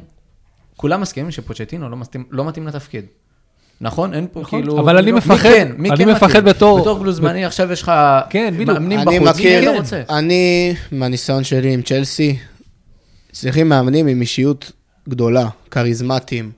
B: כולם מסכימים שפוצ'טינו לא מתאים, לא מתאים לתפקיד. נכון? אין פה
C: נכון.
B: כאילו...
C: אבל אני
B: מי
C: מפחד,
B: כן? מי
C: אני
B: כן
C: מפחד
B: מתאים?
C: בתור-
B: בתור גלוזמני, עכשיו יש לך
C: כן, בדיוק.
B: מאמנים
D: אני
B: בחוץ, מי
D: מכיר,
B: אתה רוצה?
D: אני, מהניסיון שלי עם צ'לסי, צריכים מאמנים עם אישיות גדולה, כריזמטיים,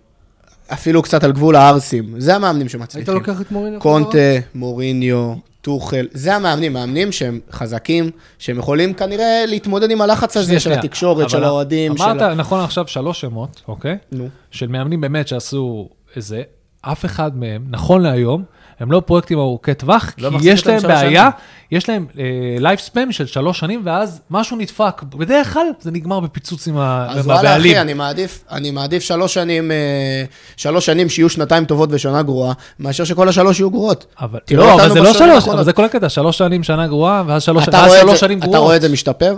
D: אפילו קצת על גבול הערסים. זה המאמנים
A: היית
D: שמצליחים.
A: לוקח את מוריניו?
D: קונטה, מוריניו, טוחל, זה המאמנים, מאמנים שהם חזקים, שהם יכולים כנראה להתמודד עם הלחץ הזה
C: שנייה,
D: של
C: שנייה.
D: התקשורת, של
C: אבל
D: האוהדים, של... ה-
C: אמרת נכון עכשיו שלוש שמות, אוקיי?
D: נו.
C: של מאמנים באמת שעשו איזה, אף אחד מהם, נכון להיום, הם לא פרויקטים ארוכי טווח,
B: לא
C: כי
B: מחזיק
C: יש
B: אותם
C: להם
B: שלוש
C: בעיה,
B: שנים.
C: יש להם לייף ספאם של שלוש שנים, ואז משהו נדפק. בדרך כלל זה נגמר בפיצוץ עם ה-
D: אז
C: עם
D: וואלה,
C: הבעלים.
D: אחי, אני מעדיף, אני מעדיף שלוש שנים, אה, שלוש שנים שיהיו שנתיים טובות ושנה גרועה, מאשר שכל השלוש יהיו גרועות.
C: אבל
D: תראו
C: לא, אבל
D: אותנו
C: זה לא
D: בשנים
C: שלוש,
D: האחרונות.
C: אבל זה כל הקטע, שלוש שנים שנה גרועה, ואז שלוש
D: אתה
C: ואז
D: רואה את
C: שלוש
D: זה-
C: שנים גרועות.
D: אתה רואה את זה משתפר?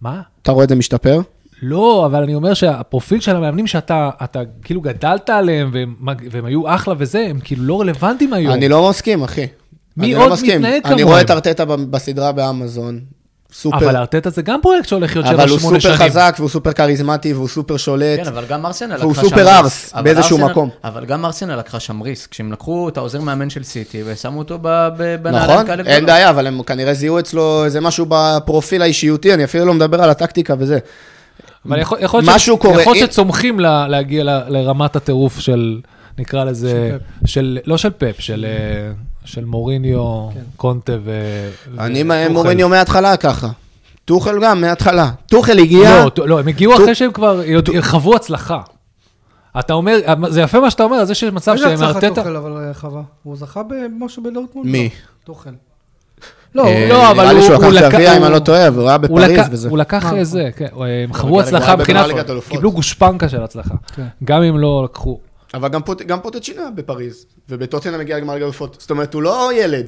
C: מה?
D: אתה רואה את זה משתפר?
C: לא, אבל אני אומר שהפרופיל של המאמנים שאתה אתה כאילו גדלת עליהם, והם, והם היו אחלה וזה, הם כאילו לא רלוונטיים היום.
D: אני לא מסכים, אחי.
C: מי
D: אני לא
C: עוד
D: מסכים.
C: מתנהג
D: אני
C: כמוהם?
D: רואה את ארטטה ב- בסדרה באמזון,
C: אבל
D: סופר,
C: ארטטה זה גם פרויקט שהולך להיות
D: אבל
C: שבע,
D: הוא
C: שמונה
D: סופר
C: שנים.
D: חזק והוא סופר כריזמטי והוא סופר שולט.
B: כן, אבל גם ארסנל
D: והוא
B: לקחה
D: סופר
B: שם
D: ארס,
B: ריסק. אבל
D: באיזשהו
B: ארסנל-
D: מקום.
B: אבל גם ארסנל לקחה שם ריסק, כשהם לקחו את העוזר מאמן של סיטי ושמו אותו ב- ב- בנעליים
D: נכון,
B: כאלה
C: לא-
D: אין
B: גדולות.
D: בעיה, אבל הם כנראה זיהו אצלו איזה משהו בפרופיל האישיותי, אני אפילו לא מדבר על הטקטיקה וזה.
C: אבל יכול יכול להיות ש-
D: משהו קורה,
C: יכול
D: אם-
C: להיות שצומחים ל- להגיע ל- לרמת הטירוף של, נקרא לזה, של, לא של פאפ, של אה, של מוריניו, קונטה ו...
D: אני
C: ו-
D: מה-
C: טוחל.
D: מוריניו מההתחלה ככה. טוחל גם מההתחלה. טוחל הגיע,
C: לא, ט- לא, הם הגיעו
D: טו-
C: אחרי שהם כבר יודע- חוו הצלחה. אתה אומר, זה יפה מה שאתה אומר, זה שיש מצב
A: איזה
C: שהם
A: הצלחת
C: ארטטה...
A: תוכל אבל אה, חווה? הוא זכה במשהו בדורטמונד?
D: מי?
A: לא, תוכל. לא,
D: אה,
C: לא, אבל
D: נראה לי
C: הוא-
D: שהוא
C: הוא
D: לקח
C: לקח-
D: גביע, אם
C: הוא-
D: אני לא טועה, והוא היה
C: הוא
D: בפריז
C: לקח-
D: וזה.
C: הוא לקח
A: נכון.
C: איזה, כן, הם חוו
B: אבל
C: הצלחה
B: גם
C: מבחינת,
D: בליגת אלופות.
C: קיבלו גושפנקה של הצלחה.
A: כן.
C: גם אם לא לקחו,
D: אבל גם פוט- גם פוטצ'ינה בפריז, ובטוטנה מגיע לגמר ליגה אלופות. זאת אומרת, הוא לא ילד.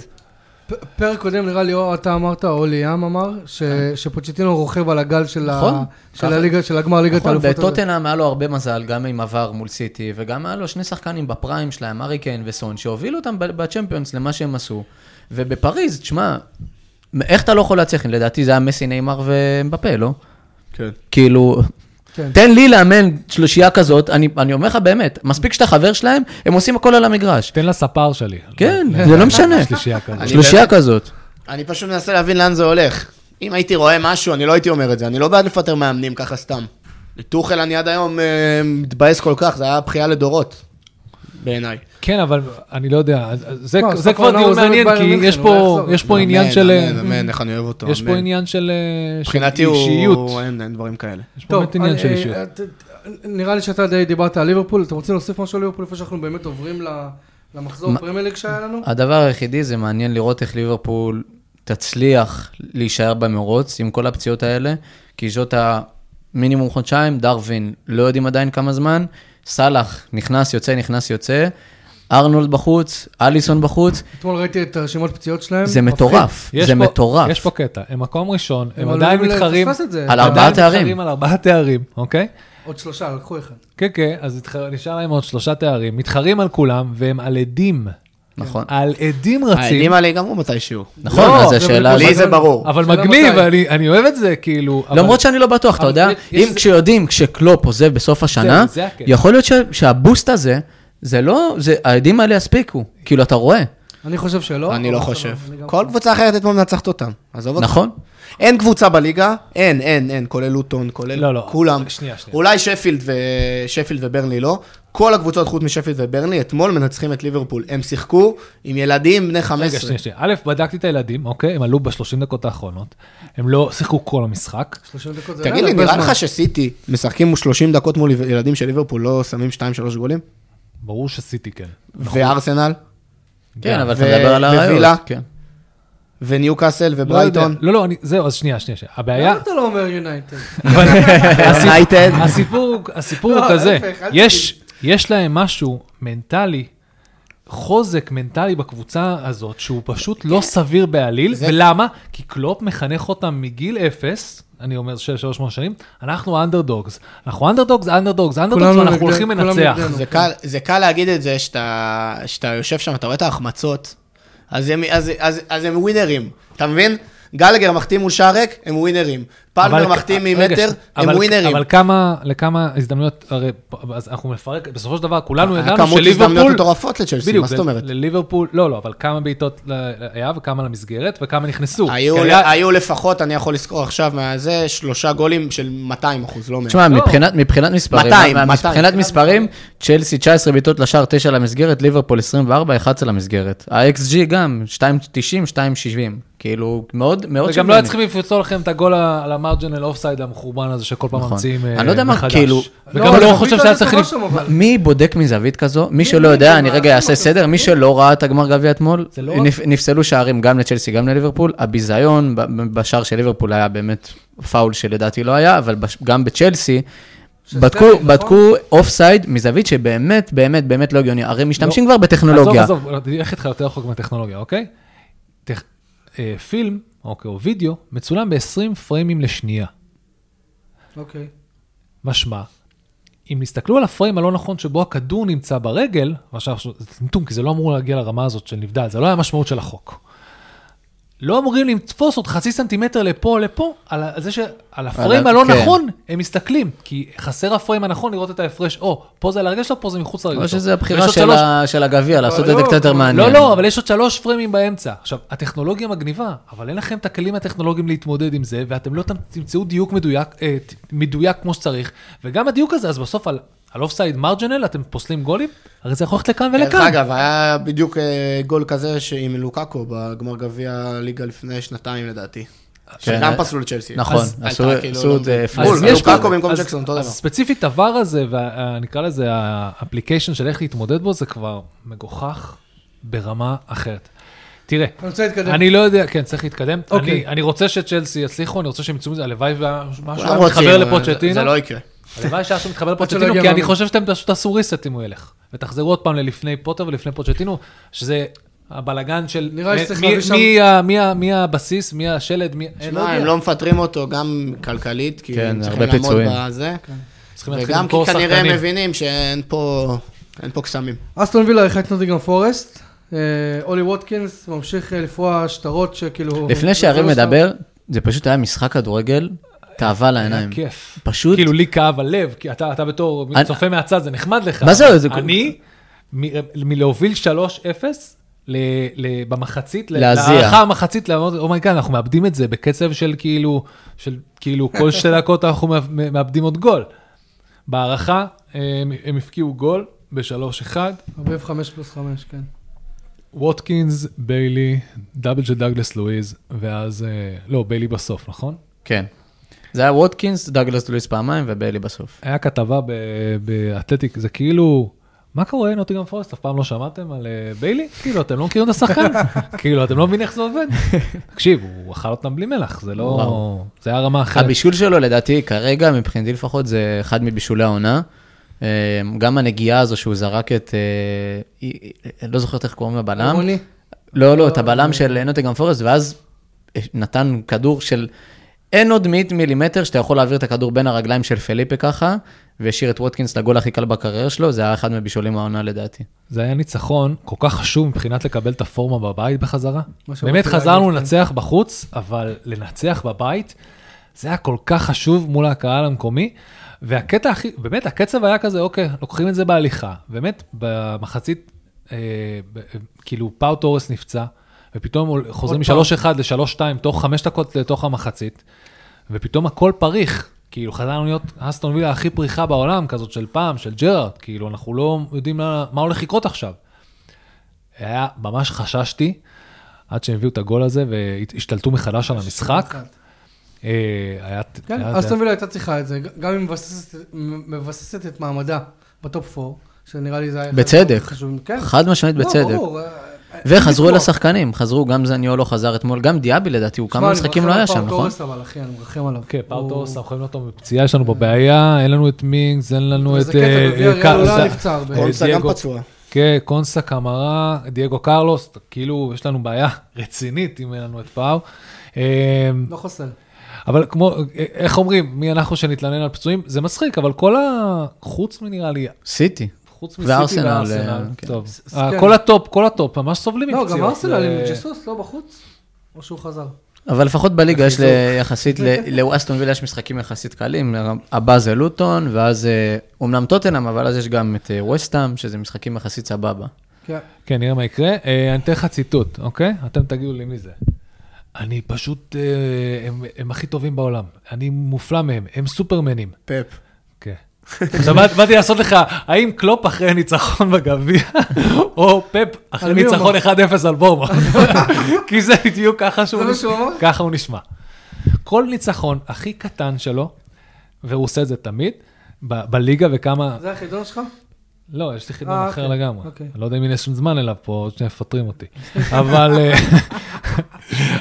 A: פ- פרק קודם נראה לי, או אתה אמרת, או ליאם אמר, ש- שפוצ'טינו רוכב על הגל של ה-
B: נכון.
A: של
B: ככה.
A: הליגה, של הגמר ליגת
B: נכון,
A: האלופות. הזה.
B: בטוטנאם היה לו הרבה מזל, גם עם עבר מול סיטי, וגם היה לו שני שחקנים בפריים שלהם, ארי קיין וסון, שהובילו אותם ב- בצ'מפיונס למה שהם עשו. ובפריז, תשמע, איך אתה לא יכול להצליח? לדעתי זה היה מסי נאמר ומבפה, לא?
D: כן.
B: כאילו,
A: כן.
B: תן לי לאמן שלושייה כזאת, אני אני אומר לך באמת, מספיק שאתה חבר שלהם, הם עושים הכל על המגרש.
C: תן לספר שלי.
B: כן, זה לא משנה.
C: שלישייה כזאת.
D: אני
B: שלושייה
D: באמת-
B: כזאת.
D: אני פשוט מנסה להבין לאן זה הולך. אם הייתי רואה משהו, אני לא הייתי אומר את זה. אני לא בעד לפטר מאמנים ככה סתם. לטוחל אני עד היום אה, מתבאס כל כך, זה היה בכייה לדורות. בעיניי.
C: כן, אבל אני לא יודע, אז- אז זה-
A: מה,
C: זה
A: סוף
C: כבר
A: העונה הוא
C: דיון
A: עוזב את
C: מעניין,
A: ביירן
C: כי
A: מינכן,
C: יש
A: אולי
C: פה-
A: יחזור.
C: יש פה עניין של אה,
D: אמן, אמן, איך אני אוהב אותו.
C: יש פה
D: אמן.
C: עניין של אה, של
D: מבחינתי
C: אישיות.
D: הוא... אין, אין דברים כאלה.
C: יש פה באמת עניין של
A: אה,
C: אישיות.
A: אה, ת- ת- נראה לי שאתה די דיברת על ליברפול, אתם רוצים להוסיף משהו על ליברפול לפני שאנחנו באמת עוברים ל- למחזור
B: מה-
A: הפרמייליג שהיה לנו?
B: הדבר היחידי זה מעניין לראות איך ליברפול תצליח להישאר במרוץ עם כל הפציעות האלה, כי זאת המינימום חודשיים, דרווין לא יודעים עדיין כמה זמן, סאלח נכנס, יוצא, נכנס, יוצא, ארנולד בחוץ, אליסון בחוץ,
A: אתמול ראיתי את הרשימות פציעות שלהם.
B: זה
A: מפחיד.
B: מטורף,
C: יש
B: זה
C: פה-
B: מטורף.
C: יש פה קטע, הם מקום ראשון, הם
A: אבל
C: עדיין
A: עלולים
C: מתחרים.
A: לפספס את זה.
B: על
C: הם
B: ארבעה
C: עדיין
B: תארים.
C: מתחרים על ארבעה תארים, אוקיי?
A: עוד שלושה, לקחו אחד.
C: כן, כן, אז התח- נשאר להם עוד שלושה תארים, מתחרים על כולם, והם על עדים.
B: נכון,
C: על עדים רצים.
D: העדים האלה ייגמרו מתישהו.
B: נכון,
C: לא,
B: אז
A: זה
B: השאלה...
A: בטוח.
D: לי זה ברור.
C: אבל
A: לא. שאלה
C: מגניב,
A: מתי.
C: אני- אני אוהב את זה, כאילו. אבל-
B: למרות שאני לא בטוח, אתה
C: אבל
B: יודע,
C: יש- יש
B: אם
C: איזה-
B: כשיודעים, כשקלופ עוזב בסוף השנה,
C: זה הקטע.
B: יכול להיות ש- שהבוסט הזה, זה לא, זה- העדים האלה יספיקו, כאילו, אתה רואה,
A: אני חושב שלא.
D: אני
A: אבל
D: לא
C: נכון,
A: סבבה,
D: חושב.
A: אני גם
D: כל קבוצה אחרת אתמול מנצחת אותם. עזוב אותך.
B: נכון?
D: אין קבוצה בליגה, אין, אין, אין, כולל לוטון, כולל
C: לא, לא.
D: כולם.
C: שנייה, שנייה.
D: אולי שפילד, ו... שפילד וברני לא. כל הקבוצות חוץ משפילד וברני אתמול מנצחים את ליברפול. הם שיחקו עם ילדים בני 15.
C: רגע, שנייה, שנייה. א', בדקתי את הילדים, אוקיי? הם עלו ב-30 דקות האחרונות. הם לא שיחקו כל המשחק.
A: 30 דקות זה
D: תגיד
A: לא
D: לי,
A: הרבה
D: נראה
A: זמן.
D: לך שסיטי משחקים 30 דקות מול ילדים של ליברפול, לא שמים 2-3 גולים?
C: ברור שסיטי כן.
D: וארסנל?
B: כן, אבל אתה
D: ו-
B: מדבר על
D: ווילה?
B: הראיות. כן.
D: וניוקאסל
C: לא יודע.
D: וברייטון.
C: לא, לא, אני- זהו, אז שנייה, שנייה, שנייה. הבעיה...
A: למה אתה לא אומר יונייטד?
C: אבל- הסיפור-
D: יונייטד.
C: הסיפור הסיפור
A: לא,
C: הוא כזה,
A: ההפך, אל
C: יש- יש להם משהו מנטלי, חוזק מנטלי בקבוצה הזאת, שהוא פשוט
A: כן.
C: לא סביר בעליל,
D: זה-
C: ולמה? כי קלופ מחנך אותם מגיל אפס. אני אומר של 300 שנים, אנחנו אנדרדוגס. אנחנו אנדרדוגס, אנדרדוגס, אנדרדוגס,
A: כולנו
C: ואנחנו
A: נגדנו,
C: הולכים
A: כולם
C: לנצח.
A: נגדנו.
D: זה קל, זה קל להגיד את זה שאתה, שאתה יושב שם, אתה רואה את ההחמצות, אז הם, אז, אז, אז הם ווינרים, אתה מבין? גלגר מחטיא מול שרק, הם ווינרים. פלמר
C: אבל- אה,
D: מחטיא
C: רגע,
D: ממטר,
C: ש-
D: הם
C: אבל-
D: ווינרים.
C: אבל כמה, לכמה הזדמנויות, הרי פה- אז אנחנו נפרק, בסופו של דבר כולנו
D: היה
C: ידענו
D: כמות הזדמנויות
C: שליברפול,
D: מטורפות לצ'לסי,
C: בדיוק,
D: מה זאת אומרת?
C: לליברפול, לא, לא, אבל כמה בעיטות ל- היה וכמה למסגרת וכמה נכנסו.
D: היו,
C: כי
D: ל-
C: היה-
D: היו לפחות, אני יכול לזכור עכשיו מהזה, שלושה גולים של 200 אחוז, לא 100.
B: תשמע, מבחינת, מבחינת מספרים,
D: 200,
B: מה-
D: 200.
B: מבחינת מספרים, צ'לסי 19 בעיטות לשער 9 למסגרת, ליברפול 24, 11 למסגרת. ה-XG גם, 2.90, 2.70. כאילו, מאוד, מאוד
C: וגם לא היה צריכים לפצוע לכם את הגול ה- על המרג'נל אופסייד המחורבן הזה שכל פעם
B: נכון.
C: ממציאים אה, מחדש.
B: אני לא יודע מה, כאילו-
C: וגם
A: אבל
C: לא
A: זווית
C: חושב
A: הזאת
C: שהיה צריך...
A: טובה
C: לפ-
A: שם, אבל.
B: מי בודק מזווית כזו? מי שלא
A: מי
B: יודע,
A: יודע,
B: אני
A: מה,
B: רגע
A: עושים
B: אעשה
A: אותו,
B: סדר, מי
A: כן.
B: שלא ראה את הגמר גביע אתמול,
C: זה לא-
B: נפ- נפסלו שערים גם לצ'לסי, גם לליברפול. הביזיון ב- ב- בשער של ליברפול היה באמת פאול שלדעתי לא היה, אבל בש- גם בצ'לסי,
A: שסטרלינג,
B: בדקו,
A: נכון?
B: בדקו אוף סייד מזווית שבאמת, באמת, באמת לא הגיוני. הרי משתמשים כבר בטכנולוגיה.
C: עזוב, עזוב, אני אלך איתך יותר רחוק מהטכנולוגיה, אוקיי? טכ- אה, פילם, אוקיי, או וידאו, מצולם ב-20 פריימים לשנייה.
A: אוקיי.
C: משמע, אם יסתכלו על הפריים הלא נכון שבו הכדור נמצא ברגל, מה שאנחנו, זה טמטום, כי זה לא אמור להגיע לרמה הזאת של נבדל, זה לא היה המשמעות של החוק. לא אמורים לתפוס עוד חצי סנטימטר לפה או לפה, על ה- זה שעל הפריים
B: ה-
C: הלא
B: כן.
C: נכון הם מסתכלים, כי חסר הפריים הנכון לראות את ההפרש, או, פה זה על הרגל שלו, פה זה מחוץ לרגל שלו.
B: או שזה
C: ויש
B: הבחירה
C: עוד
B: של
C: שלוש-
B: ה- של הגביע, לעשות את זה
A: לא,
B: קצת יותר
A: לא,
B: מעניין.
C: לא, לא, אבל יש עוד שלוש פריימים באמצע. עכשיו, הטכנולוגיה מגניבה, אבל אין לכם את הכלים הטכנולוגיים להתמודד עם זה, ואתם לא ת- תמצאו דיוק מדויק, אה, ת- מדויק כמו שצריך. וגם הדיוק הזה, אז בסוף על, על אוף סייד מרג'נל, אתם פוסלים גולים, הרי זה יכול ללכת לכאן
D: דרך
C: ולכאן.
D: אגב, היה בדיוק אה, גול כזה ש- עם לוקאקו בגמר גביע ליגה לפני שנתיים לדעתי. שגם פסלו לצ'לסי.
B: נכון,
D: אז
B: עשו-
D: הייתה כאילו
B: עשו
D: לא
B: את,
D: מבין.
B: אה,
D: בול,
B: פלוס.
C: אז יש פה-
D: לוקאקו במקום
C: אז-
D: ג'קסון, אותו
C: אז
D: דבר.
C: ספציפית, הוואר הזה, ונקרא לזה האפליקיישן של איך להתמודד בו, זה כבר מגוחך ברמה אחרת. תראה,
A: אני רוצה להתקדם.
C: אני לא יודע, כן, צריך להתקדם.
A: אוקיי.
C: אני- אני רוצה שצ'לסי יצליחו, אני רוצה שהם יצאו מזה, הלוואי ומשהו
D: כולם
C: היה
D: לא רוצים,
C: מתחבר
D: אבל זה-
C: לפוצ'טינו.
D: זה לא יקרה.
C: הלוואי שהיה שם מתחבר
A: שלא
C: לפוצ'טינו,
A: יגיע
C: כי אני
A: מאמן.
C: חושב שאתם פשוט תעשו reset אם הוא ילך. ותחזרו עוד פעם ללפני פוטר ולפני פוצ'טינו, שזה הבלגן של...
A: נראה
C: מ-
A: שצריך
C: מי-
A: להביא שם-
C: מי ה- מי ה- מי הבסיס, מי השלד, מי... אין, לא
D: שמע,
C: יודע.
D: הם לא מפטרים אותו גם כלכלית, כי
B: כן,
D: הם צריכים
B: הרבה
D: לעמוד
B: פיצויים.
D: בזה,
C: כן. צריכים להתחיל
D: וגם כי
C: למכור
D: כנראה הם
C: שחקנים.
D: מבינים שאין פה אין פה קסמים.
A: אסטון וילה הרחק נוטיגרם פורסט. אה, אולי ווטקינס ממשיך אה, לפרוע שטרות שכאילו...
B: לפני שהרים
A: זה לא
B: מדבר, זה פשוט היה משחק כדורגל, תאווה לעיניים.
C: כיף.
B: פשוט,
C: כאילו לי כאב הלב, כי אתה אתה בתור
B: אני-
C: צופה מהצד, זה נחמד לך.
B: מה זה, זה-
C: אני, מ- מלהוביל 3-0 ל- ל- במחצית, ל-
B: להזיע.
C: להערכה המחצית, לעמוד, אומייגאד, אנחנו מאבדים את זה בקצב של כאילו, של כאילו כל שתי דקות אנחנו מאב- מאבדים עוד גול. בהערכה, אה, הם הם הפקיעו גול ב-3-1,
A: שם. 45 פלוס 5, כן.
C: ווטקינס, ביילי, דאבל של דאגלס לואיז, ואז, אה, לא, ביילי בסוף, נכון?
B: כן. זה היה ווטקינס, דאגלס לואיס פעמיים וביילי בסוף.
C: היה כתבה ב- באתלטיק, זה כאילו, מה קורה נוטיגרם פורסט? אף פעם לא שמעתם על אה, ביילי? כאילו, אתם לא מכירים את השחקן? כאילו, אתם לא מבינים איך זה עובד? תקשיב, הוא אכל אותם בלי מלח, זה לא...
B: וואו.
C: זה היה רמה אחרת.
B: הבישול שלו לדעתי כרגע, מבחינתי לפחות, זה אחד מבישולי העונה. אה, גם הנגיעה הזו שהוא זרק את, אה, אי- אי- אני לא זוכר איך קוראים לבלם.
A: רוני?
B: לא, לא, את הבלם של נוטינגרם פורסט, ואז אה, נתן כדור של אין עוד מית מילימטר שאתה יכול להעביר את הכדור בין הרגליים של פליפה ככה, והשאיר את ווטקינס לגול הכי קל בקריירה שלו, זה היה אחד מהבישולים העונה לדעתי.
C: זה היה ניצחון כל כך חשוב מבחינת לקבל את הפורמה בבית בחזרה.
A: מה שרציתי
C: באמת חזרנו
A: להגיד, כן.
C: לנצח בחוץ, אבל לנצח בבית, זה היה כל כך חשוב מול הקהל המקומי. והקטע הכי, באמת, הקצב היה כזה, אוקיי, לוקחים את זה בהליכה. באמת, במחצית, אה, ב- כאילו, פאו תורס נפצע, ופתאום הול- חוזרים
A: פעם.
C: מ-3-1 ל-3-2, תוך חמש דקות לתוך המחצית, ופתאום הכל פריך. כאילו, חזרנו להיות אסטון וילה הכי פריחה בעולם, כזאת של פעם, של ג'רארד. כאילו, אנחנו לא יודעים מה מה הולך לקרות עכשיו. היה, ממש חששתי, עד שהם הביאו את הגול הזה והשתלטו מחדש על המשחק. אה, היה...
A: כן,
C: היה-
A: אסטון וילה הייתה צריכה את זה, גם היא מבססת- מבססת את מעמדה בטופ 4, שנראה לי זה היה... אחד
B: בצדק.
A: הדברים החשובים. כן.
B: חד משמעית
A: לא,
B: בצדק.
A: ברור, אה,
B: וחזרו אל השחקנים, חזרו, גם זניולו חזר אתמול, גם דיאבי לדעתי, הוא כמה משחקים לא היה שם, נכון?
A: פאוטורס אבל, אחי, אני מרחם עליו.
C: כן,
A: הוא-
C: פאוטורס, אנחנו יכולים להיות אותו בפציעה, יש לנו פה בעיה, אין לנו את מינגס, אין לנו את...
A: וזה קטע,
C: אה,
A: בוויה
C: אה,
A: ריאל
C: קאר-
A: הוא לא היה
C: זה-
A: נפצע הרבה.
C: אה,
D: קונסה גם
C: דייגו-
D: פצוע.
C: כן, קונסה, קמרה, דייגו קרלוס, כאילו, יש לנו בעיה רצינית אם אין לנו את פאו. אה,
A: לא חוסן.
C: אבל כמו, אה, איך אומרים, מי אנחנו שנתלונן על פצועים? זה מצחיק, אבל כל ה... חוץ מנראה לי,
B: סיטי.
C: חוץ מסיטי
B: וארסנל,
C: וארסנל,
B: אה, כן.
C: טוב.
A: ס-
C: אה,
A: כן.
C: כל הטופ, כל הטופ, ממש סובלים
A: לא,
C: מפציעות.
A: גם
C: אה,
A: ארסנל
C: זה-
A: עם ג'סוס, לא בחוץ? או שהוא חזר?
B: אבל לפחות בליגה יש ל- יחסית, ל- לאסטון וילה יש משחקים יחסית קלים, הבא זה לוטון, ואז אה, אומנם טוטנאם, אבל אז יש גם את אה, ווסטאם, שזה משחקים יחסית סבבה.
A: כן.
C: כן, נראה מה יקרה. אה, אני אתן לך ציטוט, אוקיי? אתם תגידו לי מי זה. אני פשוט, אה, הם- הם הכי טובים בעולם. אני מופלא מהם, הם סופרמנים.
D: פפ.
C: כן. עכשיו באת- באתי לעשות לך, האם קלופ אחרי ניצחון בגביע, או פפ אחרי
A: על מי הוא
C: ניצחון
A: אמר?
C: 1-0 על בורמה? כי זה בדיוק ככה שהוא
A: זה מה
C: נש-
A: שהוא אמר?
C: ככה הוא נשמע. כל ניצחון הכי קטן שלו, והוא עושה את זה תמיד, ב- בליגה וכמה...
A: זה החידון שלך?
C: לא, יש לי חידון
A: אה,
C: אחר
A: אוקיי,
C: לגמרי.
A: אוקיי.
C: אני לא יודע אם יש זמן אליו פה, עוד שנייה מפטרים אותי. אבל אה,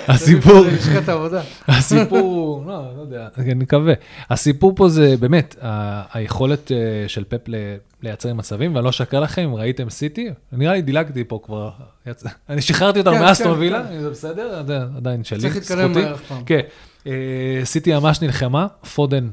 C: הסיפור...
A: לשכת העבודה.
C: הסיפור, לא, לא יודע, אני מקווה. הסיפור פה זה באמת, ה- היכולת אה, של פפ ל- לייצר מצבים, ואני לא אשקר לכם, אם ראיתם סיטי, נראה לי דילגתי פה כבר, יצא- אני שחררתי אותם
A: כן,
C: מאסטרו
A: כן,
C: וילה,
A: כן.
C: זה בסדר, זה עדיין שלי,
A: צריך להתקדם
C: זכותי.
A: מהר אף פעם.
C: כן, אה, סיטי ממש נלחמה, פודן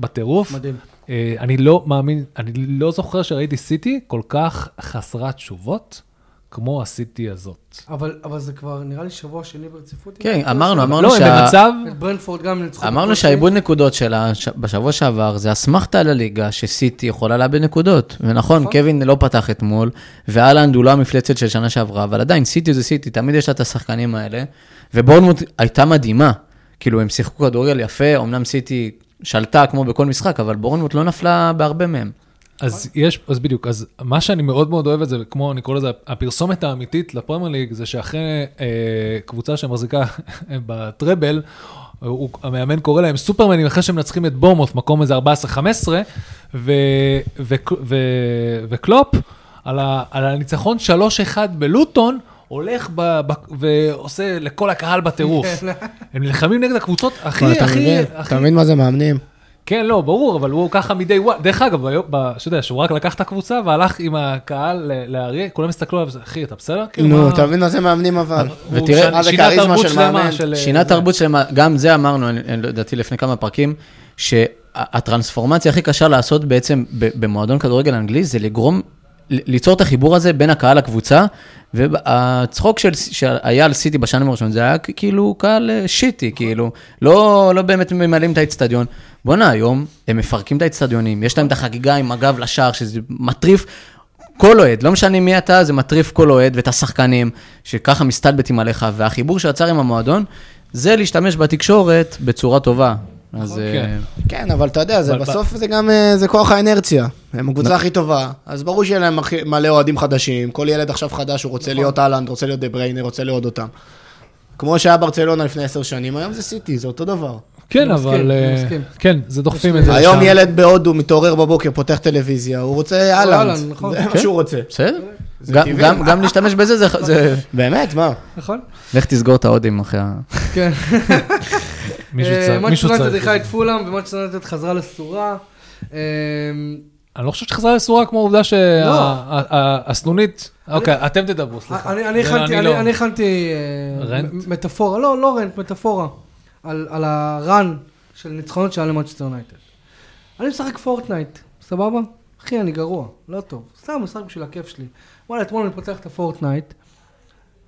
C: בטירוף.
A: מדהים.
C: אה, אני לא מאמין, אני לא זוכר שראיתי סיטי כל כך חסרת תשובות כמו הסיטי הזאת.
A: אבל אבל זה כבר נראה לי שבוע שני ברציפות.
B: כן, אמרנו, אמרנו
C: לא, הם
B: שה-
C: במצב...
A: את ברנפורד גם ניצחו.
B: אמרנו
A: בקושי.
B: שהעיבוד נקודות שלה ש- בשבוע שעבר, זה אסמכתה על הליגה שסיטי יכולה לאבד נקודות. ונכון,
C: נכון.
B: קווין לא פתח אתמול, ואלנד הוא לא המפלצת של שנה שעברה, אבל עדיין, סיטי זה סיטי, תמיד יש לה את השחקנים האלה. ובורנמוט הייתה מדהימה. כאילו, הם שיחקו כדורגל יפה, אמנם סיטי שלטה כמו בכל משחק, אבל בורנמוט לא נפלה בהרבה מהם.
C: אז יש, אז בדיוק, אז מה שאני מאוד מאוד אוהב את זה, וכמו אני קורא לזה, הפרסומת האמיתית לפרמייר ליג, זה שאחרי אה, קבוצה שמחזיקה בטראבל, הוא, המאמן קורא להם סופרמנים אחרי שהם מנצחים את בורמוט, מקום איזה 14-15, ו, ו, ו, וקלופ, על, ה, על הניצחון 3-1 בלוטון, הולך ב, ב, ועושה לכל הקהל בטירוף. הם נלחמים נגד הקבוצות הכי,
D: אתה
C: הכי,
D: מבין?
C: הכי
D: אתה מבין מה זה מאמנים?
C: כן, לא, ברור, אבל הוא ככה מדי וואן. דרך אגב, ביום- ב- שאתה יודע, שהוא רק לקח את הקבוצה והלך עם הקהל ל- לאריה, כולם הסתכלו עליו, אחי, אתה בסדר? כאילו,
D: נו,
C: מה-
D: אתה מבין מה זה מאמנים אבל?
C: הוא
B: ותראה,
C: שינה
D: מה זה כריזמה
C: תרבות
D: של
C: שלמה
D: מאמן?
C: של- אה,
B: שינה
C: זה.
B: תרבות שלמה, גם זה אמרנו, אני- אני לא- לדעתי לפני כמה פרקים, שהטרנספורמציה הכי קשה לעשות בעצם ב- במועדון כדורגל אנגלי, זה לגרום, ל- ליצור את החיבור הזה בין הקהל לקבוצה, והצחוק של- שהיה על סיטי בשנים הראשונות, זה היה כ- כאילו קהל אה, שיטי, כאילו, לא לא באמת ממלאים את האצטדיון. בואנה, היום הם מפרקים את האצטדיונים, יש להם את החגיגה עם הגב לשער, שזה מטריף. כל אוהד, לא משנה מי אתה, זה מטריף כל אוהד ואת השחקנים, שככה מסתלבטים עליך, והחיבור שיצר עם המועדון, זה להשתמש בתקשורת בצורה טובה. אז... אה,
A: אוקיי.
C: כן.
D: כן, אבל אתה יודע, זה
C: אבל-
D: בסוף זה גם, אה, זה כוח האינרציה. הם הקבוצה הכי טובה, אז ברור שיהיה להם הכי- מלא אוהדים חדשים, כל ילד עכשיו חדש, הוא רוצה להיות אהלנד, רוצה להיות דה בריינר, רוצה לאהוד אותם. כמו שהיה ברצלונה לפני עשר שנים, היום זה סיטי, זה אותו דבר.
C: כן,
A: אני מסכים,
C: אבל...
A: אני
C: אה,
A: מסכים.
C: כן, זה דוחפים את זה.
D: היום
C: לשם.
D: ילד בהודו מתעורר בבוקר, פותח טלוויזיה, הוא רוצה אהלנד.
A: אהלנד, נכון.
D: זה מה
B: כן.
D: שהוא רוצה.
B: בסדר? גם-
D: טבעי.
B: גם- גם להשתמש בזה, זה- זה...
D: באמת, מה?
A: נכון?
B: לך תסגור את ההודים אחרי ה...
A: כן.
C: מישהו
A: אה,
C: צריך- מישהו
A: מנצ'סטר יונייטד
C: צריך...
A: אירחה
C: את
A: את
C: זה.
A: פולאם, ומנצ'סטר יונייטד חזרה לסורה. אה,
C: אני לא חושב שחזרה לסורה כמו העובדה
A: לא.
C: שהסנונית... אוקיי, אתם תדברו, סליחה.
A: אני- אני
C: לא,
A: הכנתי- אני-
C: לא.
A: אני הכנתי אה,
C: רנט?
A: מ- מטאפורה, לא, לא רנט, מטאפורה, על על הרן של ניצחונות שהיה למנצ'סטר יונייטד. אני משחק פורטנייט, סבבה? אחי, אני גרוע, לא טוב. סתם משחק בשביל הכיף שלי. וואלה, אתמול אני פותח את הפורטנייט,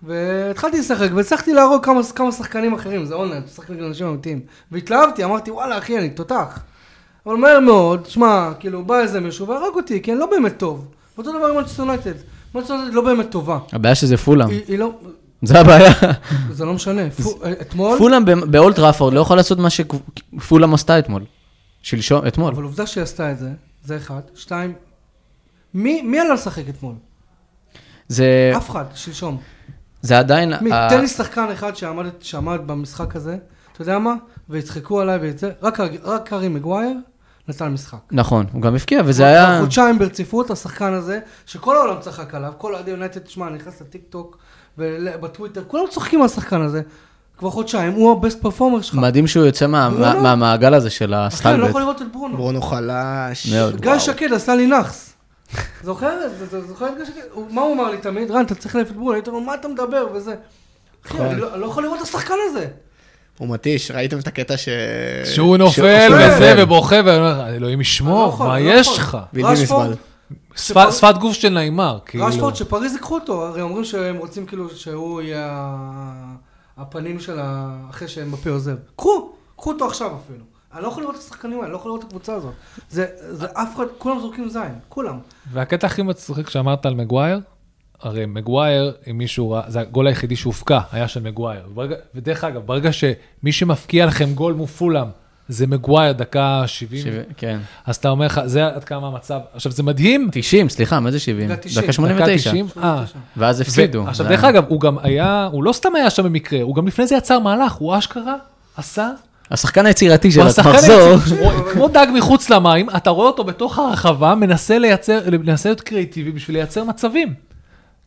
A: והתחלתי לשחק, והצלחתי להרוג כמה- כמה שחקנים אחרים, זה אונליין, משחק נגד אנשים אמיתיים. והתלהבתי, אמרתי, וואלה, אחי, אני תותח. אבל מהר מאוד, שמע, כאילו, בא איזה מישהו והרג אותי, כי אני לא באמת טוב. אותו דבר עם מנצ'סטר יונייטד. מנצ'סטר יונייטד לא באמת טובה.
B: הבעיה שזה פולאם,
A: היא היא לא,
B: זה הבעיה.
A: זה לא משנה. פו- אתמול,
B: פולאם ב- באולט ראפורד לא יכול לעשות מה שפולאם עשתה אתמול. שלשום, אתמול.
A: אבל עובדה שהיא עשתה את זה, זה אחד. שתיים, מי מי עלה לשחק אתמול?
B: זה
A: אף אחד, שלשום.
B: זה עדיין...
A: מי?
B: ה-
A: תן לי שחקן אחד שעמד שעמד במשחק הזה, אתה יודע מה? ויצחקו עליי ויצא, רק הר- רק קארי מגווייר נתן משחק.
B: נכון, הוא גם הבקיע, וזה
A: כבר-
B: היה...
A: כבר חודשיים ברציפות, השחקן הזה, שכל העולם צחק עליו, כל אוהדי יונייטד, תשמע, אני נכנס לטיק טוק, ובטוויטר, כולם צוחקים על השחקן הזה. כבר חודשיים, הוא הבסט פרפורמר שלך.
B: מדהים שהוא יוצא מה-
A: לא,
B: מה-
A: לא.
B: מהמעגל הזה של
A: אחי, אני לא
B: הסטלבט.
A: יכול לראות את ברונו.
D: ברונו חלש.
B: מאוד.
A: גיא שקד עשה לי נאחס. זוכר? את זה? אתה זוכר את גיא שקד? הוא- מה הוא אמר לי תמיד? רן, אתה צריך להעיף את ברונו. הייתי אומר, מה אתה מדבר? וזה. אחי,
D: נכון.
A: אני לא אני לא יכול לראות את השחקן הזה.
D: הוא מתיש, ראיתם את הקטע ש...
C: שהוא נופל
A: שהוא
C: וזה
A: נופל.
C: ובוכה, ואני אומר לך, אלוהים
A: אני לא
C: ישמור,
A: יכול,
C: מה
A: אני לא
C: יש
A: יכול.
C: לך?
D: בלתי
A: רשפורד,
D: נסבל.
C: שפת- שפת גוף של נעימר, כאילו.
A: רשפורד, שפריז ייקחו אותו, הרי אומרים שהם רוצים כאילו שהוא יהיה ה- הפנים של ה... אחרי שמפה עוזב. קחו, קחו אותו עכשיו אפילו. אני לא יכול לראות את השחקנים האלה, אני לא יכול לראות את הקבוצה הזאת. זה זה אף אחד, כולם זורקים זין, כולם.
C: והקטע הכי מצחיק שאמרת על מגווייר, הרי מגווייר, אם מישהו ראה, זה הגול היחידי שהופקע, היה של מגווייר. ברגע, ודרך אגב, ברגע שמי שמפקיע לכם גול מופולם, זה מגווייר, דקה 70,
B: שבעים, כן.
C: אז אתה אומר לך, זה עד כמה המצב. עכשיו, זה מדהים.
B: 90, סליחה, מה זה 70?
A: דקה 90,
B: דקה
C: דקה
B: 89.
C: 90, אה.
B: ואז הפסידו.
C: ו- עכשיו,
B: זה
C: דרך
B: היה-
C: אגב, הוא גם היה, הוא לא סתם היה שם במקרה, הוא גם לפני זה יצר מהלך, הוא אשכרה עשה
B: השחקן היצירתי של
C: הוא השחקן
B: המחזור.
C: היציב, הוא- כמו דג מחוץ למים, אתה רואה אותו בתוך הרחבה, מנסה לייצר, מנסה להיות קריאיטיבי בשביל לייצר מצבים.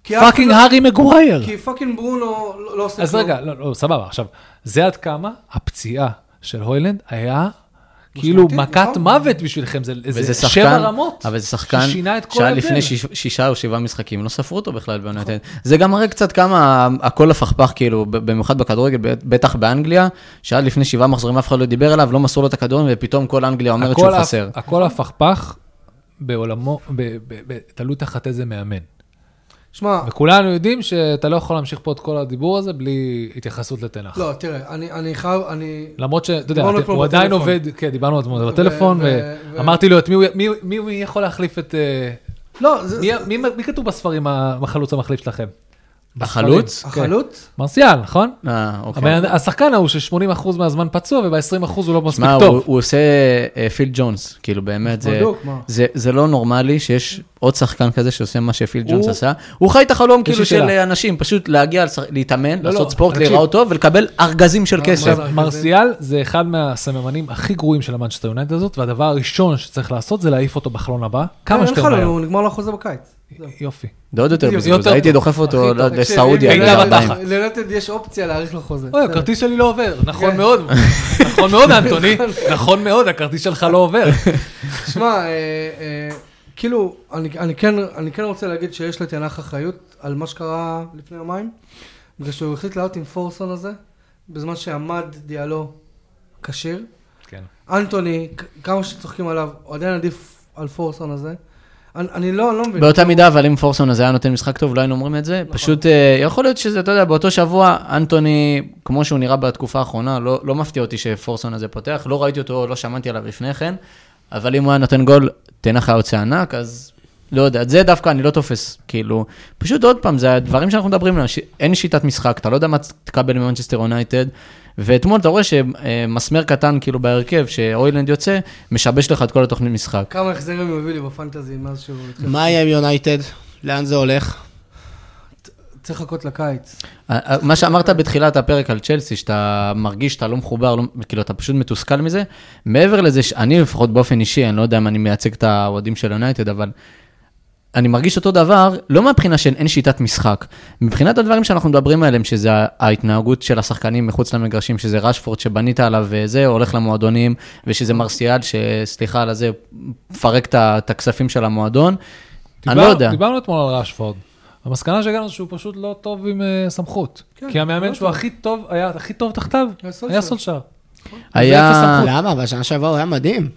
A: כי אף אחד
C: פאקינג
A: לא-
C: הארי מגווייר.
A: כי פאקינג ברונו לא לא עושה
C: אז רגע, לא, לא, סבבה, עכשיו, זה עד כמה הפציעה של הוילנד היה כאילו
A: משמעותית,
C: מכת
A: נכון.
C: מוות בשבילכם, זה
B: וזה
C: איזה שבע
B: שחקן,
C: רמות.
B: אבל זה שחקן
C: ששינה את כל
B: שהיה
C: ההבדל. נכון.
B: לפני שיש, שישה או שבעה משחקים, לא ספרו אותו בכלל ביונתן. זה גם מראה קצת כמה הכל הפכפך, כאילו, ב- במיוחד בכדורגל, ב- בטח באנגליה, שעד לפני שבעה מחזורים אף אחד לא דיבר עליו, לא מסרו לו את הכדורים, ופתאום כל אנגליה אומרת
C: הכל
B: שהוא
C: הפ-
B: חסר.
C: הכל הפכפך בעולמו, ב- ב- ב- תלוי תחת איזה מאמן.
A: שמע,
C: וכולנו יודעים שאתה לא יכול להמשיך פה את כל הדיבור הזה בלי התייחסות לתנ"ך.
A: לא, תראה, אני- אני חייב, אני...
C: למרות שאתה יודע,
A: דיברנו
C: אתם-
A: אתמול
C: הוא עדיין
A: בטלפון.
C: עובד, כן, דיברנו אתמול בטלפון,
A: ו- ו-
C: ואמרתי לו, את מי הוא- מי- מי מי יכול להחליף את... אה,
A: לא, זה...
C: מי- מי- מי כתוב בספרים ה- החלוץ המחליף שלכם?
B: החלוץ?
C: בספרים, כן.
A: החלוץ?
C: מרסיאל, נכון?
B: אה, אוקיי.
C: הבן- השחקן ההוא ש-80% מהזמן פצוע וב-20% הוא לא מספיק
B: מה, הוא,
C: טוב. נכון,
B: הוא עושה אה, פיל ג'ונס, כאילו באמת, זה,
A: בדוק, מה?
B: זה, זה לא נורמלי שיש עוד שחקן כזה שעושה מה שפיל ג'ונס
C: הוא-
B: עשה. הוא חי את החלום
C: לי
B: כאילו של
C: שאלה.
B: אה, אנשים, פשוט להגיע, לשח- להתאמן,
C: לא,
B: לעשות
C: לא,
B: ספורט,
C: תקשיב.
B: להיראות טוב ולקבל ארגזים של כסף.
C: עכשיו, מרסיאל זה אחד מהסממנים הכי גרועים של המנצ'סטר יונייטד הזאת, והדבר הראשון שצריך לעשות זה להעיף אותו בחלון הבא, כמה
A: אין
C: שיותר
A: חלון,
C: מהר.
A: הוא נגמר לו החוזה בקיץ. זהו.
C: יופי.
B: זה עוד יותר
A: בדיוק,
B: בזבוז,
C: יותר
B: הייתי
C: טוב.
B: דוחף אותו
C: הכי טוב.
B: ל-
A: תקשיב,
B: לסעודיה,
A: אם
B: גיל
C: מילה
B: 40.
C: בתחת.
A: לנטד יש אופציה להאריך לו חוזה.
C: אוי,
A: בסדר.
C: הכרטיס שלי לא עובר, נכון
A: כן.
C: מאוד, נכון מאוד, אנטוני, נכון מאוד, הכרטיס שלך לא עובר.
A: שמע, אה, אה, כאילו, אני, אני, כן, אני כן רוצה להגיד שיש לתנח אחריות על מה שקרה לפני יומיים, בגלל שהוא החליט לעלות עם פורסון הזה, בזמן שעמד דיאלו כשיר.
C: כן.
A: אנטוני, כ- כמה שצוחקים עליו, הוא עדיין עדיף על פורסון הזה. אני, אני לא, אני לא מבין.
B: באותה מידה, אבל אם פורסון הזה היה נותן משחק טוב, לא היינו אומרים את זה. פשוט אה, יכול להיות שזה, אתה יודע, באותו שבוע, אנטוני, כמו שהוא נראה בתקופה האחרונה, לא לא מפתיע אותי שפורסון הזה פותח, לא ראיתי אותו, לא שמעתי עליו לפני כן, אבל אם הוא היה נותן גול, תנח היה יוצא ענק, אז לא יודע, את זה דווקא אני לא תופס, כאילו, פשוט עוד פעם, זה הדברים שאנחנו מדברים עליהם, ש- אין שיטת משחק, אתה לא יודע מה תקבל ממנצ'סטר יונייטד, ואתמול אתה רואה שמסמר קטן, כאילו, בהרכב, שאוילנד יוצא, משבש לך את כל התוכנית משחק.
A: כמה החזרים הוא הביא לי בפנטזי מאז שהוא... התחיל.
D: מה יהיה עם יונייטד? לאן זה הולך?
A: צריך לחכות לקיץ.
B: מה שאמרת בתחילת הפרק על צ'לסי, שאתה מרגיש שאתה לא מחובר, לא, כאילו אתה פשוט מתוסכל מזה, מעבר לזה שאני לפחות באופן אישי, אני לא יודע אם אני מייצג את האוהדים של יונייטד, אבל אני מרגיש אותו דבר, לא מהבחינה של אין שיטת משחק, מבחינת הדברים שאנחנו מדברים עליהם, שזה ההתנהגות של השחקנים מחוץ למגרשים, שזה רשפורד שבנית עליו וזה, הולך למועדונים, ושזה מרסיאל, שסליחה על הזה, מפרק את ה- את הכספים של המועדון. אני לא
C: דיברנו-
B: יודע.
C: דיברנו אתמול על רשפורד. המסקנה שהגענו שהוא פשוט לא טוב עם אה, סמכות.
A: כן,
C: כי
A: לא
C: המאמן שהוא
A: טוב.
C: הכי טוב, היה הכי טוב
A: היה
C: תחתיו, היה
A: סולשייר.
C: סולשר.
B: לא היה...
C: אפס סמכות.
D: למה? בשנה שעברה הוא היה מדהים.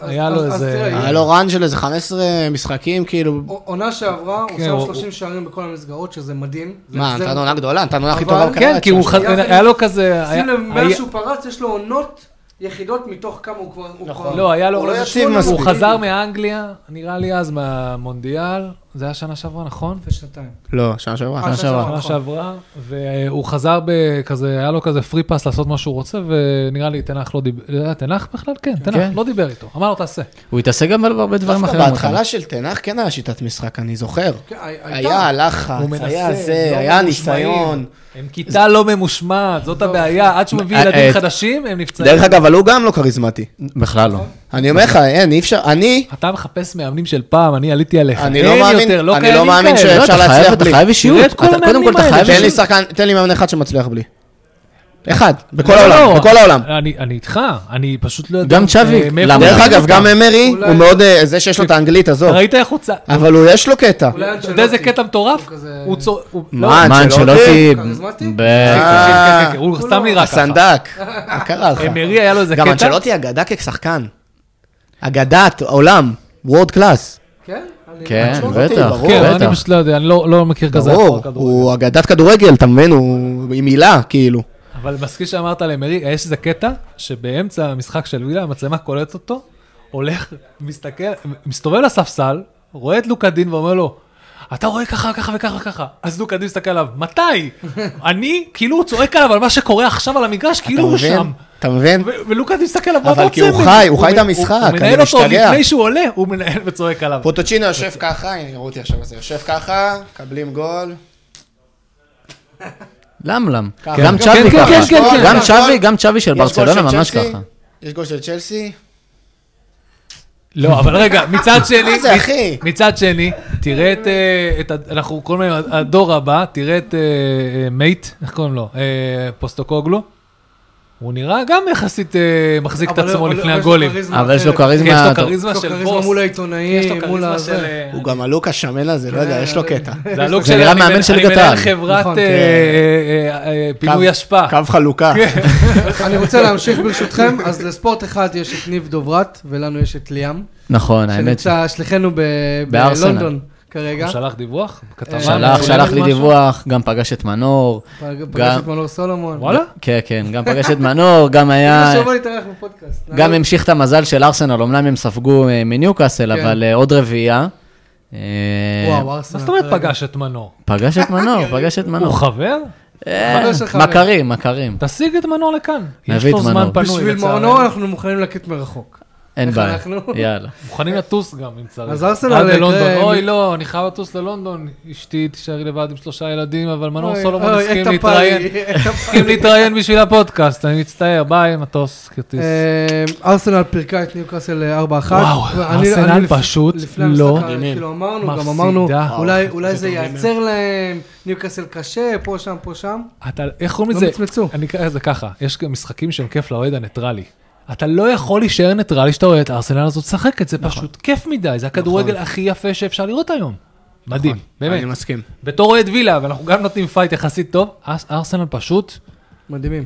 A: אז-
C: היה
A: אז-
C: לו
A: אז
C: איזה-
A: תראה, אה,
D: היה לו רן של איזה 15 משחקים, כאילו...
A: עונה שעברה,
C: כן,
A: הוא שם
C: הוא-
A: 30 שערים בכל המסגרות, שזה מדהים. זה
D: מה,
A: החזר-
D: נתנו עונה גדולה, נתנו עונה הכי
A: אבל-
D: טובה בקריירה.
C: כן, כי הוא
D: שלו.
C: ח- היה לו כזה... היה-
A: שים לב, מאז
C: היה-
A: שהוא פרץ, יש לו עונות יחידות מתוך כמה הוא כבר... הוא כבר-
C: לא, היה
D: הוא
C: לו
D: לא
C: איזה
D: יציב
C: שמונה, הוא
D: מספיק.
A: כאילו-
C: חזר מאנגליה, נראה לי אז מהמונדיאל, זה היה שנה שעברה, נכון?
A: לפני שנתיים.
D: לא, שנה שעברה.
A: אה,
B: שעברה.
C: שנה
A: נכון.
C: שעברה, והוא חזר בכזה, היה לו כזה פרי פס לעשות מה שהוא רוצה, ונראה לי תנח לא דיבר, אה, תנח בכלל? כן,
B: כן.
C: תנח לא דיבר איתו, אמר לו תעשה.
B: הוא התעסק גם בהרבה דברים
D: דווקא
B: אחרים. אבל.
D: בהתחלה של תנח כן היה שיטת משחק, אני זוכר.
A: כן, הי-
D: היה
A: הייתה.
D: לחץ,
C: הוא מנסה,
D: היה
C: לא
D: זה, היה
C: ממושמעים.
D: ניסיון.
C: הם כיתה לא ממושמעת, זאת הבעיה, עד שהוא מביא
B: אה,
C: ילדים
B: אה,
C: חדשים, הם נפצעים.
D: דרך אגב, אבל הוא גם לא כריזמטי.
B: בכלל לא.
D: אני אומר לך, אין, אי אפשר, אני,
C: אתה מחפש מאמנים של פעם, אני עליתי עליך.
D: אני
C: אין
D: לא מאמין,
C: יותר, לא
D: אני לא
C: קיימים
D: מאמין
C: כאלה.
B: לא,
D: שאפשר
B: אתה
D: להצליח
B: חייב, אתה
D: בלי.
B: חייב אישיות.
C: תראה את כל
B: אתה- קודם כל,
C: המאמנים
B: אתה
C: האלה,
B: חייב
D: תן לי
B: אישיות.
D: שחקן, תן לי מאמן אחד שמצליח בלי. אחד, בכל
C: לא,
D: העולם,
C: לא,
D: בכל העולם.
C: אני אני איתך, אני פשוט לא יודע.
B: גם צ'אבי,
C: אה, מאיפה
B: למה?
D: דרך
C: אתה
D: אגב, גם אמרי,
A: אולי-
D: הוא מאוד, אה, זה שיש לו את האנגלית, עזוב.
C: ראית איך הוא צ...
D: אבל הוא יש לו קטע.
A: אולי
C: אתה יודע איזה קטע מטורף?
A: הוא כזה-
C: הוא צור... הוא-
D: מה,
C: לא,
B: מה,
D: אנצ'לוטי?
B: אנצ'לוטי?
A: כריזמטי?
B: כן, בטח.
C: כן,
D: אה,
C: כן, כן, הוא סתם נראה ככה.
D: הסנדק, מה קרה לך?
C: אמרי היה לו איזה
D: גם
C: קטע.
D: אנצ'לוטי אגדה כשחקן. אגדת עולם, וורד קלאס.
A: כן? אני-
B: כן,
A: אני-
B: בטח,
D: ברור.
C: כן, אבל אני
B: בטח.
C: פשוט לא יודע, אני לא לא מכיר כזה.
D: ברור,
C: הפרעה כדורגל.
D: הוא אגדת כדורגל, אתה מבין? הוא עם מילה, כאילו.
C: אבל מזכיר שאמרת על אמרי, יש איזה קטע שבאמצע המשחק של וילה, המצלמה קולטת אותו, הולך, מסתכל, מסתובב לספסל, רואה את לוקדין ואומר לו, אתה רואה ככה, ככה וככה וככה. אז לוקדין מסתכל עליו, מתי? אני, כאילו הוא צועק עליו על מה שקורה עכשיו על המגרש,
D: אתה
C: כאילו הוא
D: מבין?
C: שם.
D: אתה מבין?
C: ו- ולוקאט מסתכל עליו, מה
D: אבל
C: אתה
D: כי
C: רוצה?
D: הוא
C: ממני?"
D: חי, הוא חי את
C: מנ-
D: המשחק,
C: הוא מנהל
D: אני
C: אותו עוד
D: משתגע.
C: לפני שהוא עולה, הוא מנהל וצועק עליו.
D: פוטוצ'ינו יושב ככה, הנה, יראו אותי עכשיו, זה יושב ככה, מקבלים גול.
B: למלם.
D: ככה.
B: גם
D: כן,
B: צ'אבי
C: כן, כן,
B: ככה.
C: כן, כן.
B: גם
D: יש
B: צ'אבי,
D: גול-
B: גם צ'אבי של
D: יש גול
B: ברצלונה
D: של
B: ממש
D: צ'לסי,
B: ככה.
D: יש גול של צ'לסי.
C: כן. לא, אבל רגע, מצד שני,
D: מה זה, אחי?
C: מצד שני, תראה את, אה, את, ה- אנחנו קוראים להם הדור הבא, תראה את אה, אה, מייט, איך קוראים לו? אה, פוסטוקוגלו. הוא נראה גם יחסית אה, מחזיק את
A: אבל
C: עצמו
A: לא- אבל
C: לפני
A: יש לו
C: הגולים.
A: כריזמה
B: אבל יש לו
A: אחרת.
B: כריזמה...
C: יש לו
B: אתה-
A: יש
C: כריזמה
A: לו
C: של
A: כריזמה
C: בוס.
A: מול
C: יש לו
A: העיתונאים, מול
C: כריזמה של...
A: הזה.
C: אה,
D: הוא גם הלוק השמן הזה, לא יודע, יש לו קטע.
C: זה הלוק
B: זה
C: של...
B: נראה
C: אני
B: מאמן
C: מנ-
B: של
C: אני מנהל
B: גטן.
C: חברת
A: נכון,
C: אה,
A: כן.
C: אה, אה, כן. אה, פינוי
D: קו-
C: אשפה.
D: קו חלוקה.
A: אני רוצה להמשיך ברשותכם, אז לספורט אחד יש את ניב דוברת, ולנו יש את ליאם,
B: נכון, האמת. ש-
A: שנמצא שליחנו ב-
B: בארסנל.
A: בלונדון כרגע.
C: הוא שלח דיווח? כתבה?
B: שלח,
A: אה,
B: שלח לי
A: משהו?
B: דיווח, גם פגש את מנור.
A: פגש את מנור סולומון.
C: וואלה?
B: כן, כן, גם פגש את מנור, גם היה...
A: זה שבא להתארח בפודקאסט.
B: אה, גם המשיך את המזל של ארסנל, אמנם הם ספגו אה, מניוקאסל,
A: כן.
B: אבל אה, עוד רביעייה. אה,
A: וואו, ארסנל.
C: מה זאת אומרת
A: כרגע.
C: פגש את מנור?
B: פגש את מנור, פגש את
C: הוא
B: מנור.
C: חבר?
B: אה,
A: חבר של חבר.
B: מכרים, מכרים.
C: תשיג את מנור לכאן. יש
B: נביא
C: לו
B: את
C: זמן
B: מנור.
C: פנוי.
A: בשביל
C: לצערנו.
A: מנור אנחנו מוכנים להקליט מרחוק.
B: אין
A: איך
B: בעיה,
A: אנחנו?
B: יאללה.
C: מוכנים לטוס גם, אם צריך.
A: אז ארסנל אה,
C: עד
A: יקרה-
C: ללונדון. אוי, לא, אני חייב לטוס ללונדון. אשתי תישארי לבד עם שלושה ילדים, אבל מנור
A: אוי,
C: סולומון
A: אוי,
C: הסכים
A: את
C: להתראיין.
A: הפאי, את הפאי.
C: הסכים להתראיין בשביל הפודקאסט, אני מצטער, ביי, מטוס, כרטיס.
A: אה, ארסנל פירקה את ניוקאסל אה, 4-1.
C: וואו,
A: ואני-
C: ארסנל
A: אני לפ-
C: פשוט
A: לפני
C: לא
A: המשחק, כאילו אמרנו, גם
C: מפסידה.
A: אמרנו,
C: וואו,
A: אולי- אולי זה ייעצר להם, ניוקאסל קשה, פה, שם, פה, שם.
C: אתה, איך קוראים
A: לא
C: לזה?
A: מצמצו.
C: אני אקרא לזה ככה, יש גם משחקים שהם כיף לאוהד הניטרלי. אתה לא יכול להישאר ניטרלי כשאתה רואה את הארסנל הזאת משחקת,
A: נכון.
C: זה פשוט כיף מדי, זה הכדורגל הכי יפה שאפשר לראות היום.
A: נכון.
C: מדהים,
D: אני
C: באמת.
D: מסכים.
C: בתור אוהד וילה, ואנחנו גם נותנים פייט יחסית טוב, ארס- ארסנל פשוט
A: מדהימים.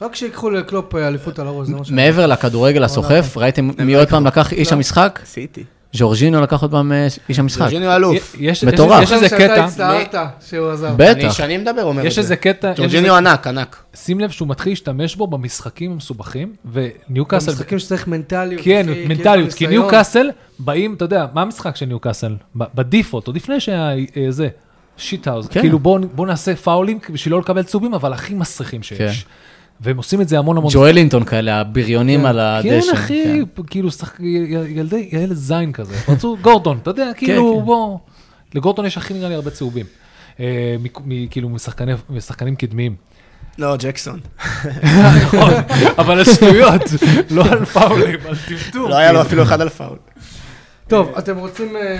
A: רק שיקחו לקלופ אה, אליפות על הראש, זה מה ש...
B: מעבר לכדורגל הסוחף, ראיתם
D: לא
B: מי עוד פעם לקח
C: לא.
B: איש המשחק?
D: עשיתי.
B: זורז'ינו לקח עוד פעם אה, איש המשחק.
D: ג'ורג'יניו אלוף.
C: יש- יש-
B: מטורף.
C: יש איזה
A: שאתה
C: קטע,
A: הצטערת שהוא עזב.
D: אני
B: בטח.
D: שנים מדבר, אומר את זה.
C: יש איזה קטע, יש
D: ג'ורג'יניו
C: איזה-
D: ענק, ענק.
C: שים לב שהוא מתחיל להשתמש בו במשחקים המסובכים, וניוקאסל,
A: משחקים שצריך מנטליות. כאילו
C: כן,
A: אחי,
C: מנטליות, כי
A: ניסיון.
C: ניוקאסל באים, אתה יודע, מה המשחק של ניוקאסל? ב- בדיפולט, עוד לפני שהיה אה, זה, שיטהאוז,
B: כן.
C: כאילו בואו בוא נעשה פאולים בשביל לא לקבל צהובים, אבל הכי מסריחים שיש.
B: כן.
C: והם עושים את זה המון המון
B: ג'ואלינטון כאלה, הבריונים על
C: כן,
B: הדשא.
C: אחי, כאילו, שחק... י- ילדי, ילד זין כזה. רצו גורדון, אתה יודע, כאילו,
B: כן.
C: בוא... לגורדון יש הכי נראה לי הרבה צהובים. אה, מ, מ, כאילו, משחקני, משחקנים קדמיים.
D: לא, ג'קסון.
C: נכון, אבל על שטויות, לא על פאולים, על טפטור.
D: לא היה לו אפילו אחד על פאול.
A: טוב, אתם רוצים... אה, אה,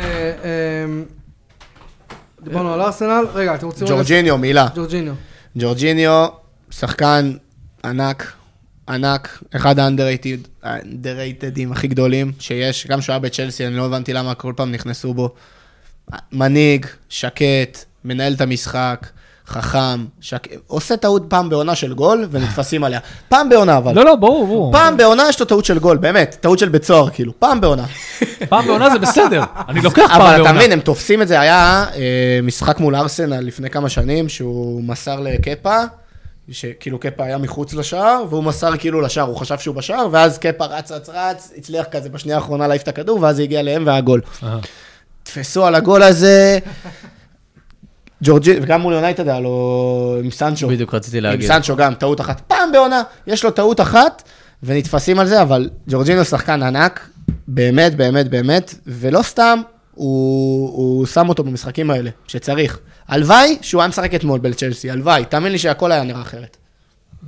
A: דיברנו על ארסנל, רגע, אתם רוצים...
D: ג'ורג'יניו, מילה.
A: ג'ורג'יניו.
D: ג'ורג'יניו, שחקן ענק, ענק, אחד האנדררייטדים הכי גדולים שיש, גם שהוא היה בצ'לסי, אני לא הבנתי למה כל פעם נכנסו בו. מנהיג, שקט, מנהל את המשחק, חכם, שק... עושה טעות פעם בעונה של גול ונתפסים עליה. פעם בעונה אבל.
C: לא, לא, ברור, ברור.
D: פעם בעונה יש לו טעות של גול, באמת, טעות של בית סוהר, כאילו, פעם בעונה.
C: פעם בעונה זה בסדר, אני לוקח פעם בעונה.
D: אבל אתה מבין, הם תופסים את זה, היה אה, משחק מול ארסנל לפני כמה שנים, שהוא מסר לקפה, שכאילו קפה היה מחוץ לשער, והוא מסר כאילו לשער, הוא חשב שהוא בשער, ואז קפה רץ, רץ, רץ, הצליח כזה בשנייה האחרונה להעיף את הכדור, ואז זה הגיע להם והגול.
C: אהה.
D: תפסו על הגול הזה, ג'ורג'י, וגם מול יונייטד היה לו עם סנצ'ו.
B: כן. בדיוק רציתי
D: עם
B: להגיד.
D: סנצ'ו גם, טעות אחת. פעם בעונה, יש לו טעות אחת, ונתפסים על זה, אבל ג'ורג'ינו שחקן ענק, באמת, באמת, באמת, ולא סתם, הוא, הוא שם אותו במשחקים האלה, שצריך. הלוואי שהוא היה משחק אתמול בצ'לסי, הלוואי, תאמין לי שהכל היה נראה אחרת.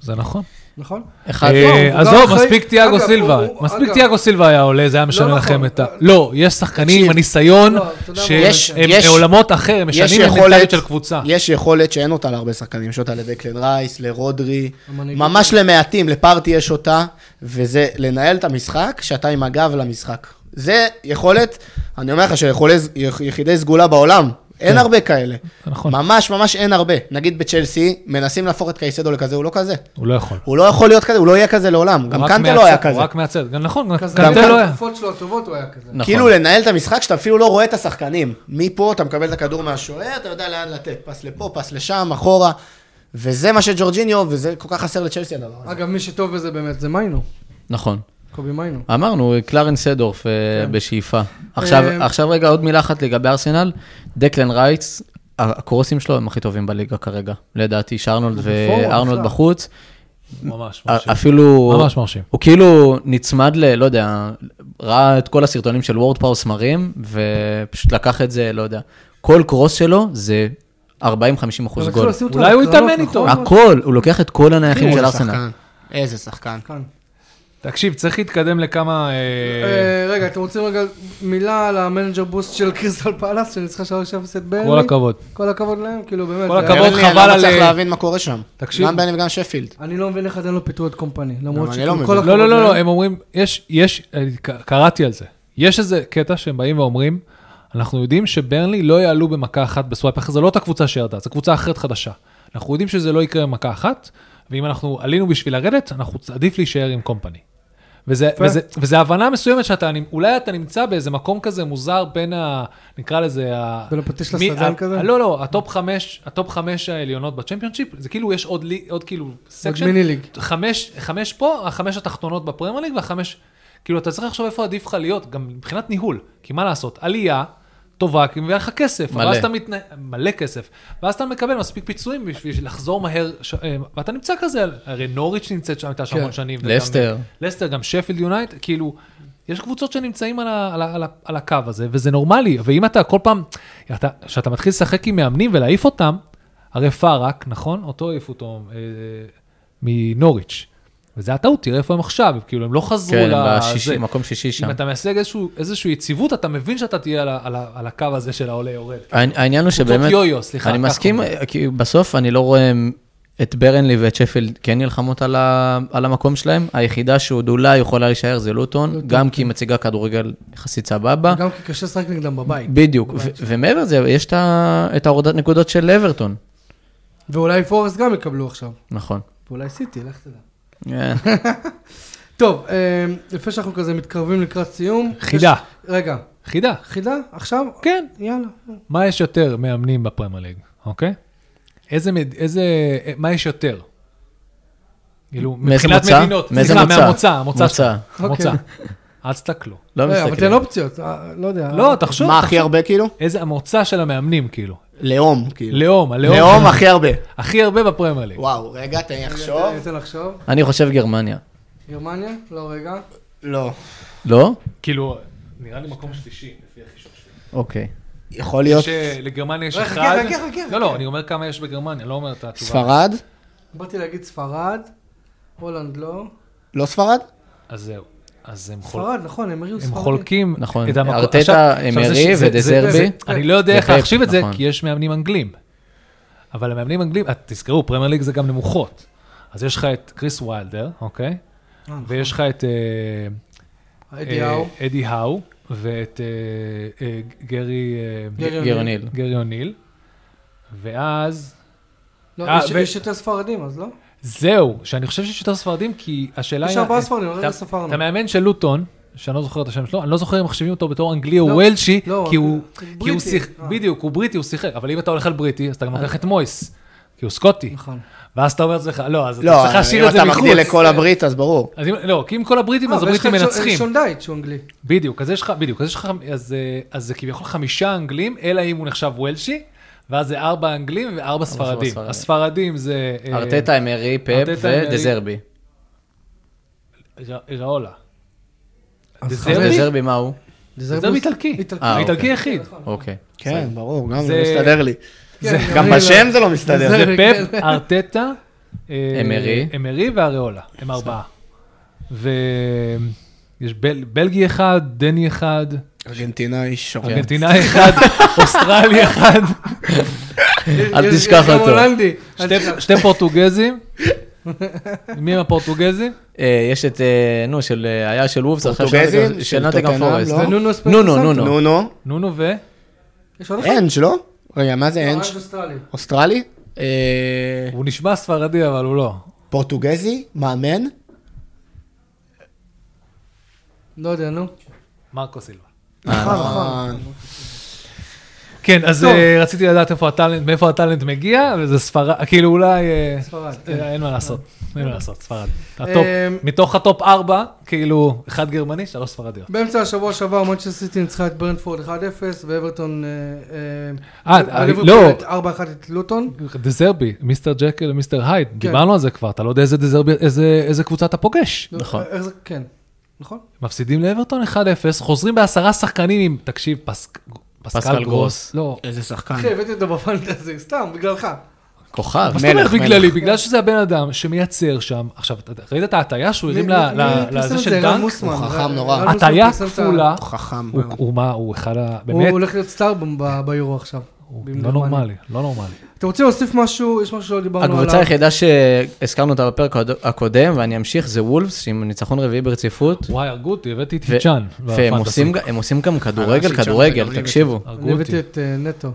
C: זה נכון.
A: נכון?
B: אחד,
C: אה,
A: לא, הוא גם
C: עזוב,
A: אחרי-
C: מספיק תיאגו
A: אגב,
C: סילבה.
A: הוא- הוא-
C: מספיק
A: אגב.
C: תיאגו סילבה היה עולה, זה היה משנה
A: נכון.
C: לכם את ה...
A: לא,
C: לא, יש שחקנים עם
D: תקשיב.
C: הניסיון,
A: לא, אתה יודע מה, יש-
C: שהם
D: יש-
C: עולמות אחר, הם
D: יש
C: משנים
D: יכולת,
C: מנטליות של קבוצה.
D: יש יכולת שאין אותה להרבה שחקנים, יש אותה לדקלן רייס, לרודרי,
A: המנהיגות.
D: ממש למעטים, לפארטי יש אותה, וזה לנהל את המשחק כשאתה עם הגב למשחק. זה יכולת, אני אומר לך, של יכולי- יח- יחידי סגולה בעולם, אין הרבה כאלה.
C: זה כן. נכון,
D: ממש ממש אין הרבה. נגיד בצ'לסי, מנסים להפוך את קייסדו לכזה, הוא לא כזה.
C: הוא לא יכול.
D: הוא לא יכול להיות כזה, הוא לא יהיה כזה לעולם. גם
C: הוא רק
D: קנטה לא
C: מהצד,
D: היה
C: הוא
D: כזה.
C: רק מהצד, גם נכון, גם
A: כזה,
C: קנטה
A: גם
C: לא היה.
A: התקופות שלו הטובות הוא היה כזה.
B: נכון.
D: כאילו לנהל את המשחק שאתה אפילו לא רואה את השחקנים. מפה אתה מקבל את הכדור מהשוער, אתה יודע לאן לתת. פס לפה, פס לשם, אחורה. וזה מה שג'ורג'יניו, וזה כל כך חסר לצ'לסי הדבר
C: נכון.
D: הזה.
A: אגב, מי שטוב בזה באמת זה מיינו,
B: נכון.
A: קובי מיינו.
B: אמרנו, קלרנס סדורף אה,
C: כן.
B: בשאיפה. עכשיו,
A: אה,
B: עכשיו רגע, עוד מילה אחת לגבי ארסנל. דקלן רייטס, הקורסים שלו הם הכי טובים בליגה כרגע. לדעתי, שארנולד
A: בפורום,
B: וארנולד
A: בכלל.
B: בחוץ.
C: ממש
B: א-
C: מרשים.
B: אפילו...
C: ממש מרשים.
B: הוא כאילו נצמד ל... לא יודע, ראה את כל הסרטונים של וורד פאוס סמרים, ופשוט לקח את זה, לא יודע. כל קרוס שלו זה 40-50 אחוז
A: אבל
B: גול.
A: רצו להוציא אותו
C: אולי הוא
A: לקרנות,
C: יתאמן איתו.
A: נכון?
B: הכל, הוא לוקח את כל הנייחים של
D: איזה
B: ארסנל.
D: שחקן. איזה שחקן.
A: כאן.
C: תקשיב, צריך להתקדם לכמה... אה,
A: אה, רגע, אתם רוצים רגע מילה על המנג'ר בוסט של קריסטל פלאס, שניצחה 3-0 את
D: אה,
A: ברלי?
C: כל הכבוד.
A: כל הכבוד להם, כאילו באמת.
C: כל
A: זה-
C: הכבוד.
D: ברנלי, אני
C: חבל
D: לא
C: על-
D: מצליח להבין מה קורה שם.
C: תקשיב.
D: גם בני וגם שפילד.
A: אני לא מבין איך עדיין לא פיטרו את קומפני, למרות
D: אני לא
A: שכל
D: מבין.
A: הכבוד
C: לא, לא, לא, לא,
A: להם.
C: הם אומרים, יש, יש, אה, ק- קראתי על זה. יש איזה קטע שהם באים ואומרים, אנחנו יודעים שברנלי לא יעלו במכה אחת בסווייפ אחר, זו לא אותה קבוצה שירדה, זו קבוצה אחרת חדשה. אנחנו יודעים שזה לא יקרה במכה אחת, ואם אנחנו עלינו בשביל לרדת, אנחנו, עדיף להישאר עם קומפני. וזה,
A: יפה.
C: וזה, וזה הבנה מסוימת שאתה, נ- אולי אתה נמצא באיזה מקום כזה מוזר בין ה... נקרא לזה ה...
A: בין הפטיש
C: מי-
A: לא לסדן
C: ה-
A: כזה?
C: לא, לא, הטופ חמש, הטופ חמש העליונות בצ'מפיונשיפ, זה כאילו יש עוד, לי- עוד כאילו סקשן,
A: מיני ליג.
C: חמש, חמש פה, החמש התחתונות בפרמייר ליג והחמש, כאילו אתה צריך לחשוב איפה עדיף לך להיות, גם מבחינת ניהול, כי מה לעשות, עלייה טובה, כי מביאה לך כסף,
B: מלא.
C: אבל אז אתה מתנה... מלא כסף, ואז אתה מקבל מספיק פיצויים בשביל לחזור מהר, ש... אה, ואתה נמצא כזה, על- הרי נוריץ' נמצאת שם, הייתה שם
A: כן.
C: המון שנים. וגם-
B: לסטר.
C: לסטר, גם שפילד יונייט, כאילו, יש קבוצות שנמצאים על, ה, על, ה, על, ה, על הקו הזה, וזה נורמלי, ואם אתה כל פעם, אתה- כשאתה מתחיל לשחק עם מאמנים ולהעיף אותם, הרי פארק, נכון? אותו העיף אותו אה, מנוריץ'. וזה הטעות, תראה איפה הם עכשיו, כאילו, הם לא חזרו
B: כן,
C: ל-
B: בשישי,
C: זה.
B: מקום שישי שם.
C: אם אתה מייצג איזשהו- איזושהי יציבות, אתה מבין שאתה תהיה על, ה- על, ה- על הקו הזה של העולה יורד.
B: העני- העניין הוא
C: קבוצות
B: שבאמת,
C: יו-יו, סליחה,
B: אני
C: ככה
B: מסכים,
C: אומרים.
B: כי בסוף אני לא רואה את ברנלי ואת שפילד כן נלחמות על, ה, על המקום שלהם, היחידה שעוד אולי יכולה להישאר זה לוטון, גם
C: כן.
B: כי היא מציגה כדורגל יחסית סבבה,
A: גם כי קשה לשחק נגדם בבית.
B: בדיוק, ו- ומעבר לזה יש את ה- את ההורדת נקודות של אברטון,
A: ואולי פורסט גם יקבלו עכשיו.
B: נכון.
A: ואולי סיטי, לך תדע.
B: אה,
A: טוב, אה, לפני שאנחנו כזה מתקרבים לקראת סיום.
C: חידה,
A: יש- רגע,
C: חידה,
A: חידה? עכשיו?
C: כן.
A: יאללה.
C: מה יש יותר מאמנים בפרמייר ליג, אוקיי? איזה, מד- איזה, מה יש יותר? כאילו,
B: מאיזה
C: מבחינת
B: מוצא?
C: מדינות.
B: מאיזה
C: סליחה,
B: מוצא?
C: מהמוצא, המוצא שלך.
B: מוצא.
C: המוצא.
A: אוקיי.
C: אז תסתכלו.
B: לא
A: רגע, אה, אבל תן
B: מסתכלים.
A: אופציות, אה, לא יודע.
C: לא, תחשוב,
D: מה הכי
C: תחשוב.
D: הרבה כאילו?
C: איזה המוצא של המאמנים, כאילו.
D: לאום, כאילו.
C: לאום, הלאום.
D: לאום הכי הרבה.
C: הכי הרבה בפרמייר ליג.
D: וואו, רגע, תן לי
A: אני
D: לחשוב.
A: אתן- אה, אני אתן לחשוב.
B: אני חושב גרמניה.
A: גרמניה? לא, רגע.
D: לא.
B: לא?
C: כאילו, נראה לי מקום שלישי, לפי החישוב שלי.
B: אוקיי.
D: יכול להיות
C: שלגרמניה יש
A: רגע, כן, חכה,
C: אחד.
A: חכה, חכה,
C: לא, לא,
A: חכה.
C: אני אומר כמה יש בגרמניה, לא אומר את התשובה.
D: ספרד?
A: באתי להגיד ספרד, הולנד לא.
D: לא ספרד?
C: אז זהו. אז הם חול-
A: ספרד, נכון, הם הריעו
C: הם
A: ספרד.
C: חולקים
B: נכון.
C: את המקום.
B: ארטטה,
C: עכשיו- עכשיו
B: אמרי
C: זה ש- זה-
B: ודה
C: זה-
B: זרבי.
C: זה- אני לא יודע איך
B: ופפ,
C: להחשיב את זה,
B: נכון.
C: כי יש מאמנים אנגלים. אבל המאמנים אנגלים, את- תזכרו, פרמייר ליג זה גם נמוכות. אז יש לך את קריס ויילדר, אוקיי?
A: אה, נכון.
C: ויש לך את אה,
A: אדי האו.
C: אה, אדי האו, ואת אה, אה, גרי אה,
A: גרי אוניל.
B: גרניל.
C: גרי אוניל. ואז,
A: לא,
C: אה,
A: יש-
C: ו-
A: יש יותר ספרדים, אז לא?
C: זהו, שאני חושב שיש יותר ספרדים, כי השאלה היא...
A: יש ארבעה
C: אה,
A: ספרדים, הרגע
C: אתה-
A: ספרנו.
C: אתה מאמן של לוטון, שאני לא זוכר את השם שלו, אני לא זוכר אם מחשיבים אותו בתור אנגלי או
A: לא,
C: וולשי,
A: לא,
C: כי הוא...
A: הוא
C: כי הוא
A: בריטי.
C: שיח...
A: אה.
C: בדיוק, הוא בריטי, הוא שיחק, אבל אם אתה הולך על בריטי, אז אתה גם לוקח את מויס, כי הוא סקוטי.
A: נכון.
C: ואז אתה אומר לעצמך, לא, אז אתה
D: לא,
C: צריך
D: אם
C: להשאיר את זה
D: אתה
C: מחוץ.
D: מקביל לכל הברית, אז ברור.
C: אז אם- לא, כי אם כל הבריטים,
A: אה,
C: אז
A: ויש לך
C: הבריטים
A: את שון-
C: מנצחים.
A: שון דייט שהוא אנגלי.
C: בדיוק, אז יש לך, בדיוק, אז יש לך, אז, אה, אז זה כביכול חמישה אנגלים, אלא אם הוא נחשב וולשי, ואז זה ארבע אנגלים וארבע ספרדים.
B: ספרדים.
C: הספרדים זה... אה,
B: ארטטה, אמרי, פאפ
C: ארטטה, אמרי.
B: ודה זרבי.
C: ר- ראולה.
A: אז
C: זה
A: חמש.
B: ודה
C: זרבי?
B: זרבי מה הוא?
A: דזרבי?
C: זה איטלקי.
A: איטלקי.
B: אה,
C: איטלקי
B: אוקיי.
C: יחיד.
B: אוקיי.
D: כן, ברור, גם
C: זה-
D: לא מסתדר לי.
A: כן,
C: זה-
A: אני
D: גם
A: לא-
D: בשם זה לא מסתדר.
A: זה-
C: זה פפ, ארטטה אה,
B: אמרי.
C: אמרי והריאולה, הם ארבעה. ויש בל... בלגי אחד, דני אחד,
D: כן. ארגנטינאי שורק.
C: ארגנטינאי אחד, אוסטרלי אחד,
B: אל
A: יש-
B: תשכח
A: יש גם
B: אותו.
A: הולנדי. אל
C: שתי-
A: תשכח.
C: שתי פורטוגזים. מי הם הפורטוגזים?
B: אה, יש את, אה, נו, של, אה, היה של וובס, עכשיו של-
D: פורטוגזים,
B: של
D: של
B: נוטגרם
D: טוטנהאם,
B: פורסט.
D: לא?
A: ונונו ספרטו
B: נו, נו, נו.
D: נו, נו.
C: נונו ו...
A: יש עוד אחד?
D: אנג', לא? רגע, מה זה אנג'?
A: אורנג' אוסטרלי.
D: אוסטרלי?
B: אה,
C: הוא נשמע ספרדי, אבל הוא לא.
D: פורטוגזי? מאמן?
A: לא יודע, נו. נכון,
C: מרקו סילבה.
D: אה,
C: כן, אז
A: טוב.
C: אה, רציתי לדעת איפה הטאלנט, מאיפה הטאלנט מגיע, וזה ספרד, כאילו אולי... אה,
A: ספרד, כן.
C: אה, אין מה לעשות, אין מה לעשות, ספרד. הטופ,
A: אמ,
C: מתוך הטופ ארבע, כאילו, אחד גרמני, שלוש ספרדיות.
A: באמצע השבוע שעבר מנצ'סטר סיטי ניצחה את ברנפורד 1-0 ואברטון... אה,
C: אה, אה,
A: הליברפול
C: לא.
A: את 4-1 את לוטון.
C: דזרבי, מיסטר ג'קל ומיסטר הייד, דיברנו על זה כבר, אתה לא יודע איזה דזרבי, איזה- איזה קבוצה אתה פוגש.
B: נכון.
A: איך זה? כן. נכון?
C: מפסידים לאברטון 1-0, חוזרים בעשרה שחקנים עם, תקשיב, פסק-
B: פסקל
C: פסקל
B: גרוס.
C: גרוס. לא,
D: איזה שחקן.
A: אחי, הבאתי אותו בפנטזי, סתם, בגללך.
B: כוכב.
C: מה זאת אומרת
D: מלך, מלך.
C: בגללי? בגלל שזה הבן אדם שמייצר שם, עכשיו, אתה ראית את ההטייה שהוא
A: מי-
C: הרים
A: מי-
C: ל-
A: מי
C: ל-
A: פרסם
C: לזה
A: את
C: של
A: זה? רן
C: דנק?
A: מוסמן.
D: הוא
A: רן-
D: חכם
A: רן
D: נורא.
A: מוסמן
C: הטעיה
A: פרסם את ה-
C: כפולה.
D: הוא חכם.
C: הוא-
D: מאוד.
C: הוא מה, הוא אחד ה...
A: הוא
C: באמת,
A: הולך להיות סטארבום ב- ביורו עכשיו.
C: הוא
A: עם
C: לא אה,
A: גרמניה.
C: נורמלי, לא נורמלי.
A: אתם רוצים להוסיף משהו? יש משהו שלא דיברנו עליו.
B: הקבוצה היחידה שהזכרנו אותה בפרק הקוד- הקודם, ואני אמשיך, זה וולפס, עם ניצחון רביעי ברציפות.
C: וואי, הרגו אותי, הבאתי את
B: ו-
C: היצ'אן.
B: והם עושים ג- הם עושים גם כדורגל,
D: אנשים שם
B: כדורגל,
D: מדברים
B: תקשיבו.
C: הרגו
A: אני הבאתי
C: אותי.
A: את אה, נטו.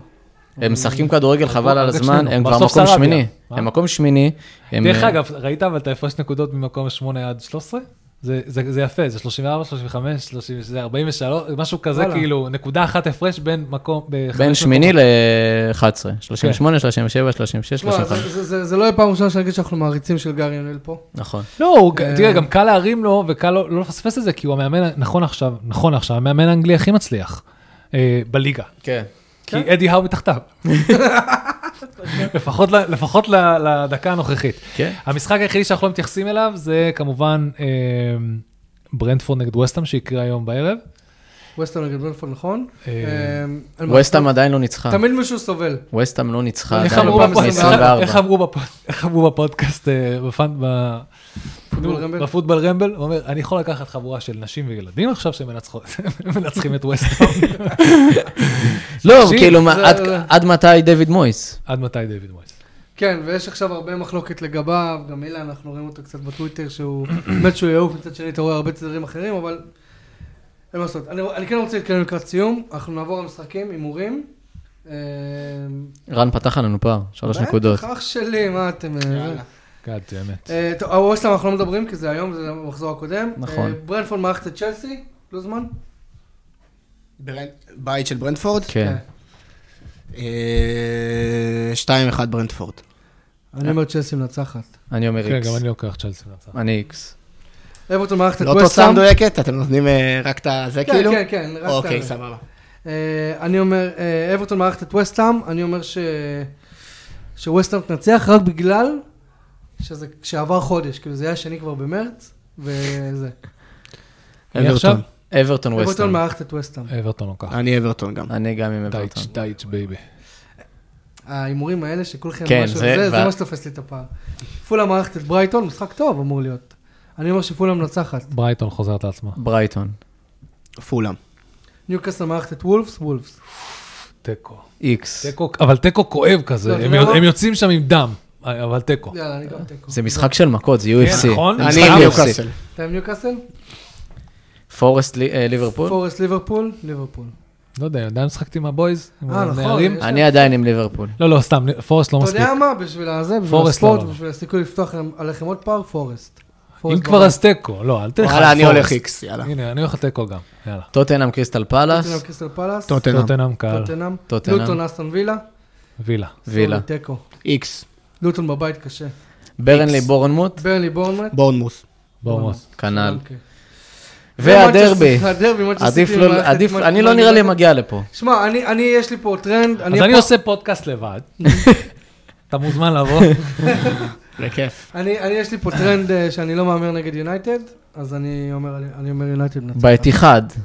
B: הם משחקים כדורגל חבל על
C: רק
B: הזמן,
C: שנינו.
B: הם כבר
C: אה, בסוף
B: מקום
C: סרביה.
B: שמיני.
C: מה?
B: הם מקום שמיני. הם,
C: דרך
B: אה,
C: אגב, ראית אבל את ההפרש נקודות ממקום 8 עד 13? זה- זה זה יפה, זה 34, 35, 30, זה 43, משהו כזה,
A: וואלה.
C: כאילו, נקודה אחת הפרש בין מקום... בחמש
B: בין
C: מקומות.
B: שמיני ל-11,
C: כן.
B: 38, 37, 36,
A: תשמע,
B: 35.
A: זה- זה- זה- זה לא יהיה פעם ראשונה שאני אגיד שאנחנו מעריצים של גארי אונל פה.
B: נכון.
C: לא, הוא-
A: אה.
C: תראה, גם קל להרים לו וקל לא לא לפספס את זה, כי הוא המאמן, נכון עכשיו, נכון עכשיו, המאמן האנגלי הכי מצליח אה, בליגה.
B: כן.
C: כי אדי האו מתחתיו. לפחות, ל- לפחות ל- לדקה הנוכחית.
B: כן.
C: המשחק היחידי שאנחנו לא מתייחסים אליו זה כמובן אה, ברנדפורד נגד ווסטהאם שיקרה היום בערב.
A: ווסטהאם נגד ברנפורד, נכון?
C: אה,
A: אה, אין מה
B: ווסטהאם
A: לעשות.
B: עדיין לא ניצחה.
A: תמיד מישהו סובל.
B: ווסטהאם לא ניצחה
A: איך
B: עדיין
A: אמרו בפוד-
B: ב-24.
C: איך אמרו בפוד- איך אמרו בפודקאסט, אה, בפאנ- ב-
A: פוטבול
C: נו,
A: רמבל.
C: בפוטבול רמבל, הוא אומר, אני יכול לקחת חבורה של נשים וילדים עכשיו שמנצחות- מנצחים את ווסטהאם.
B: לא,
C: תקשיב,
B: כאילו, מה,
A: זה-
B: עד-
A: זה-
B: עד מתי דיוויד מויס?
C: עד מתי דיוויד מויס?
A: כן, ויש עכשיו הרבה מחלוקת לגביו, גם אילן, אנחנו רואים אותו קצת בטוויטר, שהוא באמת שהוא יעוף, מצד שני אתה רואה הרבה צדדים אחרים, אבל אין מה לעשות. אני, אני כן רוצה להתקדם לקראת סיום, אנחנו נעבור למשחקים, הימורים. אה,
B: רן פתח עלינו פער, שלוש
A: באמת?
B: נקודות.
A: אח שלי, מה אתם... אה,
D: יאללה.
C: גאד, זה אמת.
A: אה, טוב, הווסטהאם אנחנו לא מדברים, כי זה היום, זה המחזור הקודם.
B: נכון.
A: אה, ברנפורד מערכת את צ'לסי, לא זמן.
D: ברנ- בית של ברנדפורד?
B: כן.
D: אה, 2-1 ברנדפורד.
A: אני אומר צ'לסי מנצחת.
B: אני אומר
C: כן,
B: איקס.
C: גם אני לא. לוקח צ'לסי מנצח.
B: אני איקס.
A: אברטון מערכת את
D: לא תוצאה
A: ווסטהאם.
D: מדויקת? אתם נותנים אה, רק את הזה
A: כן,
D: כאילו?
A: כן, כן, רק את
D: אוקיי,
A: הזה.
D: סבבה.
A: אה, אני אומר, אה, אברטון מארחת את וסטהאם, אני אומר ש... שווסטהאם תנצח רק בגלל שזה, שעבר חודש, כאילו זה היה שני כבר במרץ, וזה.
C: מי עכשיו?
D: אברטון.
B: אברטון
A: אברטון
B: ווסטון.
A: מארחת את וסטהאם.
C: אברטון לוקח.
D: אני אברטון גם.
B: אני גם עם אברטון.
C: דייץ', דייץ', בייבי.
A: ההימורים האלה שכולכם,
B: כן,
A: משהו,
B: זה-
A: זה, זה
B: ו-
A: מה שתופס לי את הפער. פולה מארחת את ברייטון, משחק טוב אמור להיות. אני אומר שפולה מנצחת.
C: ברייטון חוזרת לעצמה.
B: ברייטון.
D: פולאם.
A: ניוקאסל מארחת את וולפס, וולפס.
C: תיקו.
A: כן.
B: איקס.
C: תיקו, אבל תיקו כואב כזה,
A: לא, אתה
C: הם
A: יודע
C: יוצ-
A: מה?
C: הם יוצאים שם עם דם, אבל תיקו.
A: יאללה, אני גם תיקו.
B: זה משחק של מכות,
A: כן,
B: זה UFC.
C: נכון.
B: זה
C: אני
B: משחק
D: אני עם
B: UFC.
D: ניוקאסל.
A: אתה עם ניוקאסל?
B: פורסט לי- אה, ליברפול?
A: פורסט ליברפול? ליברפול.
C: לא יודע, עדיין משחקתי עם הבויז, עם
A: אה, נכון,
C: הנערים.
A: יש-
B: אני עדיין עם ליברפול.
C: לא, לא, סתם, פורסט לא
A: אתה
C: מספיק.
A: יודע מה? בשביל הזה, בשביל
C: פורסט
A: הספורט,
C: לא, לא.
A: בשביל הסיכוי לפתוח עליהם- עליכם עוד פער, פורסט.
C: אם
A: פורסט
C: כבר
A: ברור.
C: אז תיקו, לא, אל תלך על
D: וואלה, אני
C: פורסט.
D: הולך איקס, יאללה.
C: הנה, אני הולך לתיקו גם, יאללה.
B: טוטנאם קריסטל פאלאס,
A: טוטנאם קריסטל פלאס,
D: טוטנאם.
C: טוטנאם קהל,
A: טוטנאם,
B: טוטנאם.
A: לוטון אסטון וילה,
C: וילה.
B: וילה.
A: סורי, תיקו,
D: איקס.
A: לוטון בבית קשה,
B: ברנלי בורנמוט,
A: ברלי בורנמט,
D: בורנמוס.
C: בורמוס.
B: כנ"ל.
A: אוקיי.
B: והדרבי.
A: ומנצ'סטר- הדרבי, מנצ'סטר
B: עדיף
A: סיטי
B: לא,
A: מארחת
B: עדיף,
A: את
B: אני
A: מנ-
B: לא נראה לי
A: מנ-
B: מגיע לפה.
A: שמע, אני, אני, יש לי פה טרנד,
C: אז אני
A: פה-
C: עושה פודקאסט לבד. אתה מוזמן לבוא.
D: בכיף.
A: אני, אני, יש לי פה טרנד אה, שאני לא מהמר נגד יונייטד, אז אני אומר, אני אומר יונייטד מנצחת.
B: באתיחד,
A: נכון.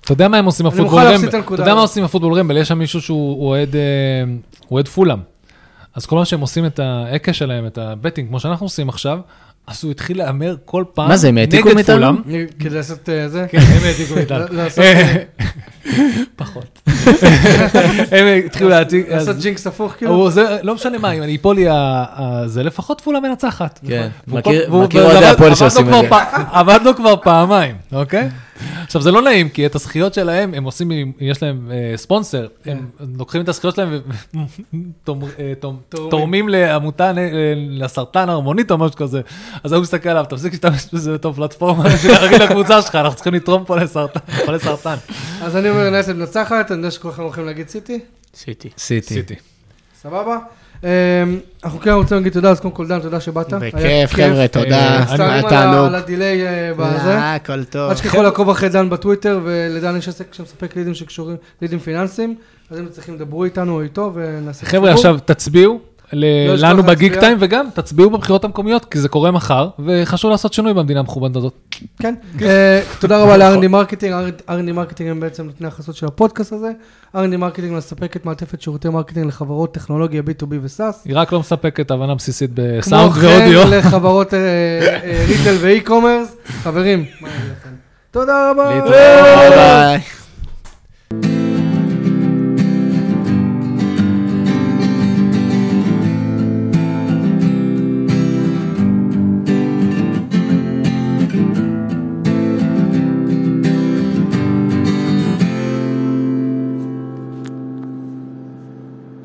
C: אתה יודע מה הם עושים
A: אני
C: בפוטבול
A: מוכן להפסיד
C: רמבל?
A: את הנקודה
C: אתה יודע מה
A: הזאת.
C: עושים בפוטבול רמבל? יש שם מישהו שהוא אוהד, אה, הוא אוהד פולאם. אז כל מה שהם עושים את ההקה שלהם, את הבטינג, כמו שאנחנו עושים עכשיו, אז הוא התחיל להמר כל פעם
B: מה זה, הם העתיקו
C: נגד
B: מאיתנו?
C: פולאם.
A: אני- כדי לעשות אה, זה?
C: כן, הם העתיקו מאיתנו.
A: ל- לעשות, אה,
C: פחות. הם התחילו להעתיק. אז-
A: לעשות ג'ינקס הפוך כאילו?
C: הוא עוזר- לא משנה מה, אם אני איפול לי ה- ה- זה, לפחות פולה מנצחת.
B: כן,
C: והוא
B: מכיר-
C: כל- והוא-
B: מכיר
C: וזה
B: אוהדי
C: עבד-
B: הפועל
C: עבד לו
B: שעושים את
C: כבר פע- עבד לו כבר פעמיים, אוקיי? עכשיו, זה לא נעים, כי את הזכיות שלהם, הם עושים, עם- אם יש להם אה, ספונסר, הם לוקחים את הזכיות שלהם
A: תורמים.
C: ותורמים לעמותה נ- אה, לסרטן הרמונית או משהו כזה. אז הוא מסתכל עליו, תפסיק להשתמש בזה בתור פלטפורמה, בשביל להגיד לקבוצה שלך, אנחנו צריכים לתרום פה לסרטן. פה לסרטן."
A: אז אני אומר יונייטד מנצחת, אני יודע שכולכם הולכים להגיד סיטי,
D: סיטי.
B: סיטי.
A: סבבה. אה, אנחנו כן רוצים להגיד תודה, אז קודם כל דן, תודה שבאת. היה
D: בכיף, חבר'ה, תודה.
A: אה, סתם
D: היה
A: על ה-
D: תענוג.
A: על הדיליי אה, בזה.
D: אה, הכל טוב.
A: אל תשכחו לעקוב אחרי דן בטוויטר, ולדן יש עסק שמספק לידים שקשורים, לידים פיננסיים, אז אם צריכים, דברו איתנו או איתו ונעשה
C: חבר'ה,
A: חיבור.
C: עכשיו תצביעו ל-
A: לא לשכוח
C: לנו
A: להצביע.
C: בגיק טיים, וגם תצביעו בבחירות המקומיות, כי זה קורה מחר, וחשוב לעשות שינוי במדינה המכובדת הזאת.
A: כן. אה, תודה רבה ל-R&D מרקטינג, R&D מרקטינג הם בעצם נותני החסות של הפודקאסט הזה. R&D מרקטינג מספקת מעטפת שירותי מרקטינג לחברות טכנולוגיה B2B וסאס.
C: היא רק לא מספקת הבנה בסיסית
A: כמו
C: בסאונד ואודיו.
A: כן לחברות אה, אה, ריטל ואי-קומרס. חברים, מה אני אגיד לכם? תודה רבה.
B: להתראות.
D: ביי.